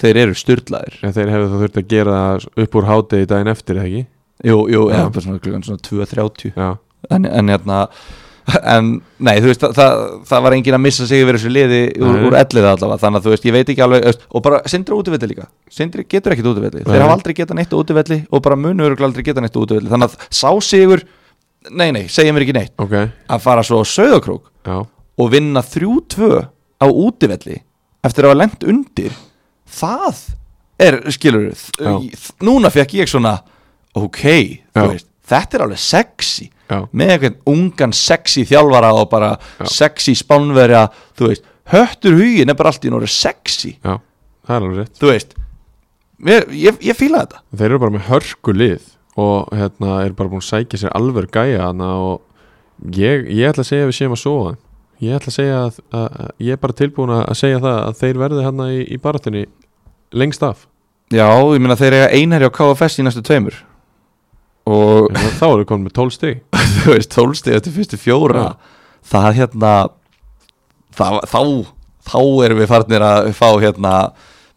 þeir eru styrlaðir en þeir hefðu það þurft að gera það upp úr hádegi daginn eftir eða ekki Jú, jú, Já. já, bara svona klukkan svona 2.30 já, en, en hérna en nei, þú veist, það, það, það var engin að missa sig yfir þessu liði úr, Nei. úr elliða allavega þannig að þú veist, ég veit ekki alveg þú veist, og bara sindri útivelli líka, sindri getur ekkit útivelli Nei. þeir hafa aldrei getað neitt á útivelli og bara munu örugglega aldrei getað neitt á útivelli þannig að sá sigur, nei, nei, segja mér ekki neitt ok, að fara svo á söðakrók já og vinna 3-2 á útivelli eftir að hafa lent undir það er, skilur Já. núna fekk ég svona ok, þú Já. veist, þetta er alveg sexy Já. með einhvern ungan sexy þjálfara og bara Já. sexy spánverja, þú veist höttur hugin er bara allt í núna sexy já, það er alveg rétt þú veist, mér, ég, ég fíla þetta Þeir eru bara með hörku lið og hérna er bara búin að sækja sér alveg gæja hana og ég, ég ætla að segja að við séum að sofa þeim. ég ætla að segja að, að, að ég er bara tilbúin að að segja það að þeir verði hana í, í baratinni lengst af já, ég meina þeir eiga einherja á KFS í næstu tveimur og Ég meina, Hérna, þá eru komin með 12 stig þú veist, tólstig eftir fyrstu fjóra það hérna það, þá, þá erum við farnir að fá hérna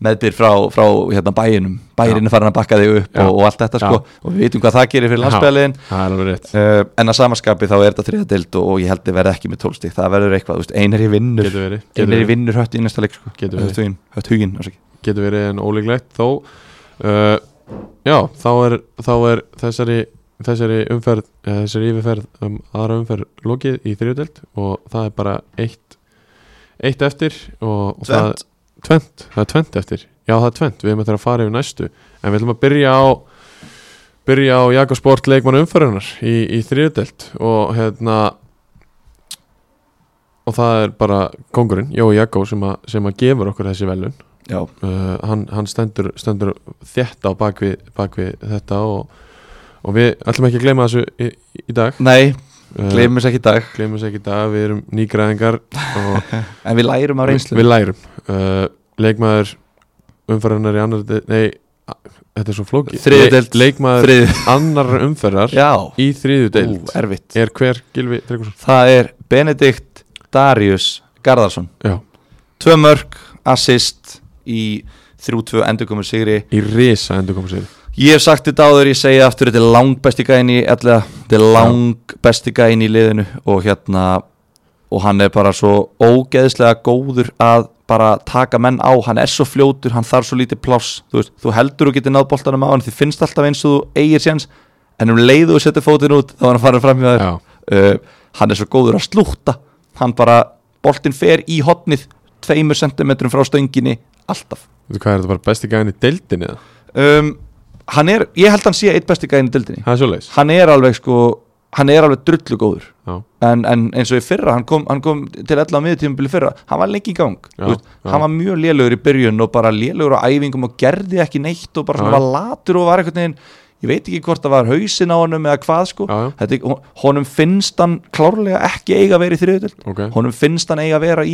meðbyr frá, frá hérna bæinum bæirinn er farin að bakka þig upp Já. og, og allt þetta Já. sko og við veitum hvað það gerir fyrir Já. landspjaliðin Það er alveg rétt uh, en að samaskapi þá er þetta þriða deild og, og ég held ég verði ekki með tólstig, það verður eitthvað þú veist, einar í vinnur, Getur verið, getur einar í verið, vinnur hött í næsta leik sko. Getur verið. hött huginn, hött huginn afsakið. getur verið en ólíklegt þó uh, Já, þá er, þá er þessari þessari umferð, eh, þessari yfirferð um aðra umferð lokið í þriðudelt og það er bara eitt eitt eftir og, og það, Tvennt. tvent, það er tvent eftir já það er tvent, við erum eftir að fara yfir næstu en við ætlum að byrja á byrja á Jakobsport leikmann umferðunar í, í þriðudelt og hérna og það er bara kongurinn, Jói Jakob sem, að- sem að gefur okkur þessi velun já, uh, hann, hann stendur, stendur þétt á bakvið bak við þetta og, og við ætlum ekki að gleyma þessu í, í dag nei, uh, gleymum þess ekki í dag gleymum þessu ekki í dag, við erum nýgræðingar og en við lærum á við, reynslu við lærum uh, leikmaður umferðarnar í annar nei, a- þetta er svo flóki Þriðju deild. leikmaður Þrið, annar umferðar já, í þriðju ú, deild erfitt er hver Gilvi Tryggvason Það er Benedikt Darius Garðarsson já, Tvö mörg, assist í 3-2 endurkomu sigri í risa endur komið sér Ég hef sagt þetta áður, ég segi aftur Þetta er langbesti gæðin í allega Þetta er langbesti gæðin í liðinu Og hérna Og hann er bara svo ógeðslega góður Að bara taka menn á Hann er svo fljótur, hann þarf svo lítið pláss Þú, veist, þú heldur og getur náð boltanum á hann Þið finnst alltaf eins og þú eigir séns En um leiðu og setja fótinn út Þá er hann farin fram hjá þér já, uh, hann er svo góður að slúta hann bara, boltinn fer í hotnið tveimur sentimetrum frá stönginni alltaf veitu hvað er þetta bara besti gæðin í deildinni eða? um, hann er, ég held hann sé eitt besti gæðin í dildinni, það er svo leis hann er alveg sko hann er alveg drullu góður já, en, en eins og í fyrra, hann kom, hann kom til allavega miðutímabili fyrra, hann var lengi í gang Já, Þú veist, já. hann var mjög lélugur í byrjun og bara lélugur á æfingum og gerði ekki neitt og bara Já. svona var latur og var einhvern veginn ég veit ekki hvort það var hausinn á honum eða hvað sko, Já, já. Þetta, er- hon- honum finnst hann klárlega ekki eiga að vera í þriðutöld ok, honum finnst hann eiga að vera í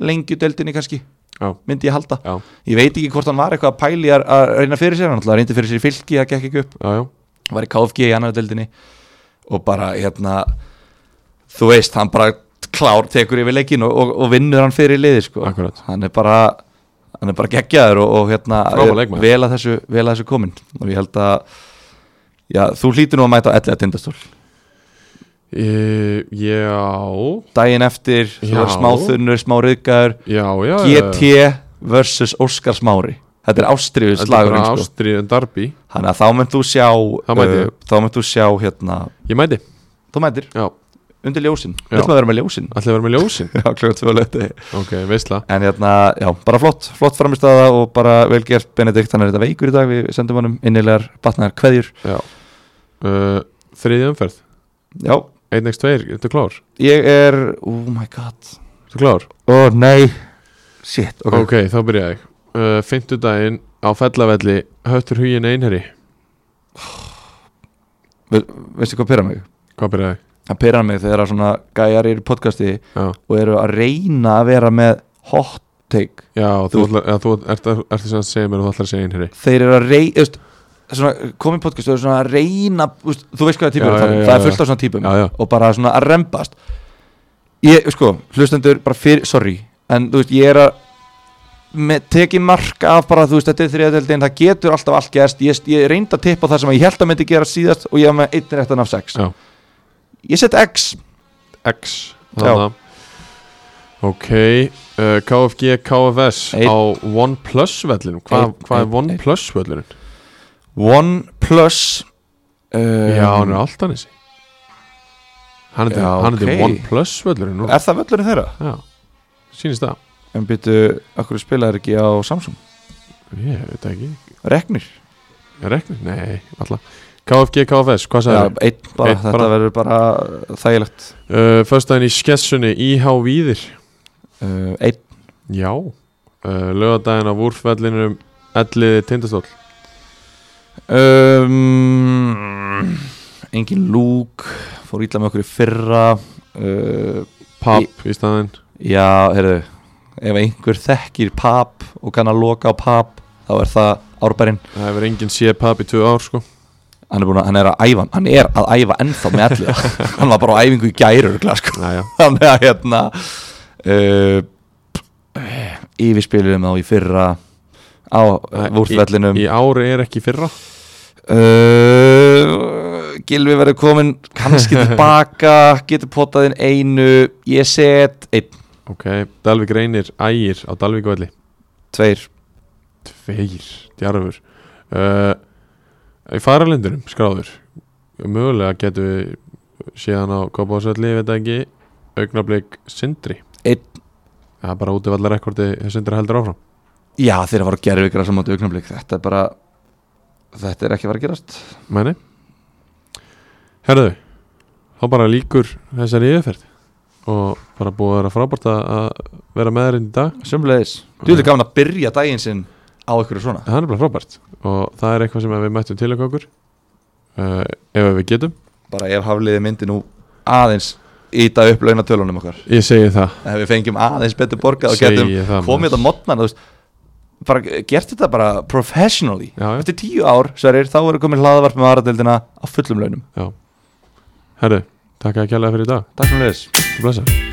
lengjudeldinni kannski, já, myndi ég halda já ég veit ekki hvort hann var eitthvað að pæli að, að reyna fyrir sér, hann alltaf reyndi fyrir sér í fylki það gekk ekki upp, Já, já, var í KFG í annar deldinni og bara hérna þú veist, hann bara klár tekur yfir leikin og, og, og vinnur hann fyrir liði sko. Akkurat. hann er bara hann er bara geggjaður og, og hérna Frábær leikmaður. vel að þessu, vel að þessu komin og ég held að já, þú hlýtur nú að mæta á 11 tindastól E, já, daginn eftir, þú Já. verður smáþunnur, smá ryðgæður já, já GT versus Óskar Smári þetta er ástriðu slagurinn sko. sko. Ástriðin Darby þannig að þá mynd þú sjá Þá mæti uh, ég. þá mynd þú sjá hérna Ég mæti, þú mætir já, undir ljósin, Já. þetta maður vera með ljósin allir vera með ljósin já, klukkan tvö á laugardegi. Ok, veistla en hérna, já, bara flott, flott framistaða og bara vel gert Benedikt, hann er þetta veikur í dag við sendum honum innilegar batnaðar kveðjur Já uh, Þriði umferð já, 1x2, ertu klár? ég er, oh my god Ertu klár? ó oh, nei, shit Ok, þá byrja ég uh, Fymtudaginn á fellavelli Höttur hugin einherri Ve veistu hvað pyrra mig? Hvað byrja ég? það pyrra mig þegar að svona gæjar eru í podcasti Já, og eru að reyna að vera með hot take já þú, Þú- ætlar, eða, þú ert, ert, ert sem sagt að segja mér að þú ætlar að segja einherri þeir eru að reyna svona, komið podcast og eru svona að reyna úst, þú veist hvað það Já, típur er já, þannig, já, það er já. fullt af svona típum Já, já. og bara svona að rembast ég, sko, hlustendur bara fyrir, sorry en þú veist, ég er að með, tekið mark af bara, þú veist, þetta er þriðadeldin það getur alltaf allt gerst, ég, ég reyndi að tippa það sem ég held að myndi gera síðast og ég hef með einn réttan af sex Já. ég set X, X þarna. Ok uh, KFG, KFS Einn. á OnePlus vellinum Hvað Einn, hva einn, er OnePlus vellinum? one plus um, Já, hann er alltaf nessi Hann er til- Já, hann er til ok. OnePlus völlurinn núna er það völlurinn þeirra? Já, sýnist það En byrju, okkur spilaðir ekki á Samsung? Ég veit það ekki, Reknir? reknir, nei, alltaf KFG, KFS, hvað Já, sagði það? einn bara, Einn þetta bara. verður bara þægilegt Uh, Föstaðin í skessunni, IH Víðir uh, Einn, Já uh, Lögadaginn á Vúrfvellinum Elliði Tindastóll um, engin lúk Fór ítla með okkur í fyrra uh, Papp í staðinn Já, heyrðu Ef einhver þekkir pap og kann að loka á pap þá er það árbærin Það hefur enginn séð papp í tvö ár sko hann er, búin að, hann er að æfa, hann er að æfa ennþá með allir, hann var bara á æfingu í gæru sko. Næja, þannig að hérna uh, yfirspilum á í fyrra á Nei, vúrtvellinum í ári er ekki í fyrra uh, Gilvi verður komin kannski tilbaka getur potaðin einu ég set einn, Ok, Dalvik reynir ægir á Dalvíkvelli tveir Tveir, djarfur uh, Í faralindunum, skráður Mögulega getum við síðan á Kópásvelli, ég veit það ekki Augnablík Sindri Einn. Það er bara út í allar rekordi Sindri heldur áfram já þeir voru að gera ykkur sem áttu augnablik þetta er bara þetta er ekki að fara að gerast Mæni Herðu Þá bara líkur þessari yfirferð Og bara búið að vera frábært að- að vera með þér inn í dag sumleis, þú ertu gaman að byrja daginn sinn á ykkur svona Það er bara frábært Og það er eitthvað sem að við mættum til okkur uh, Ef við getum bara ef hafliði myndi nú aðeins íta upp launatölunum okkar Ég segi það ef við fengjum aðeins betur borgað og Segi getum það, komið maður. þetta mótnar bara gert þetta bara professionally Já, já. eftir tíu ár, sverir, þá eru komin hlaðavarp með aðradeldina á fullum launum Já Herru, takk að kjærlega fyrir í dag Takk fyrir þess Blessa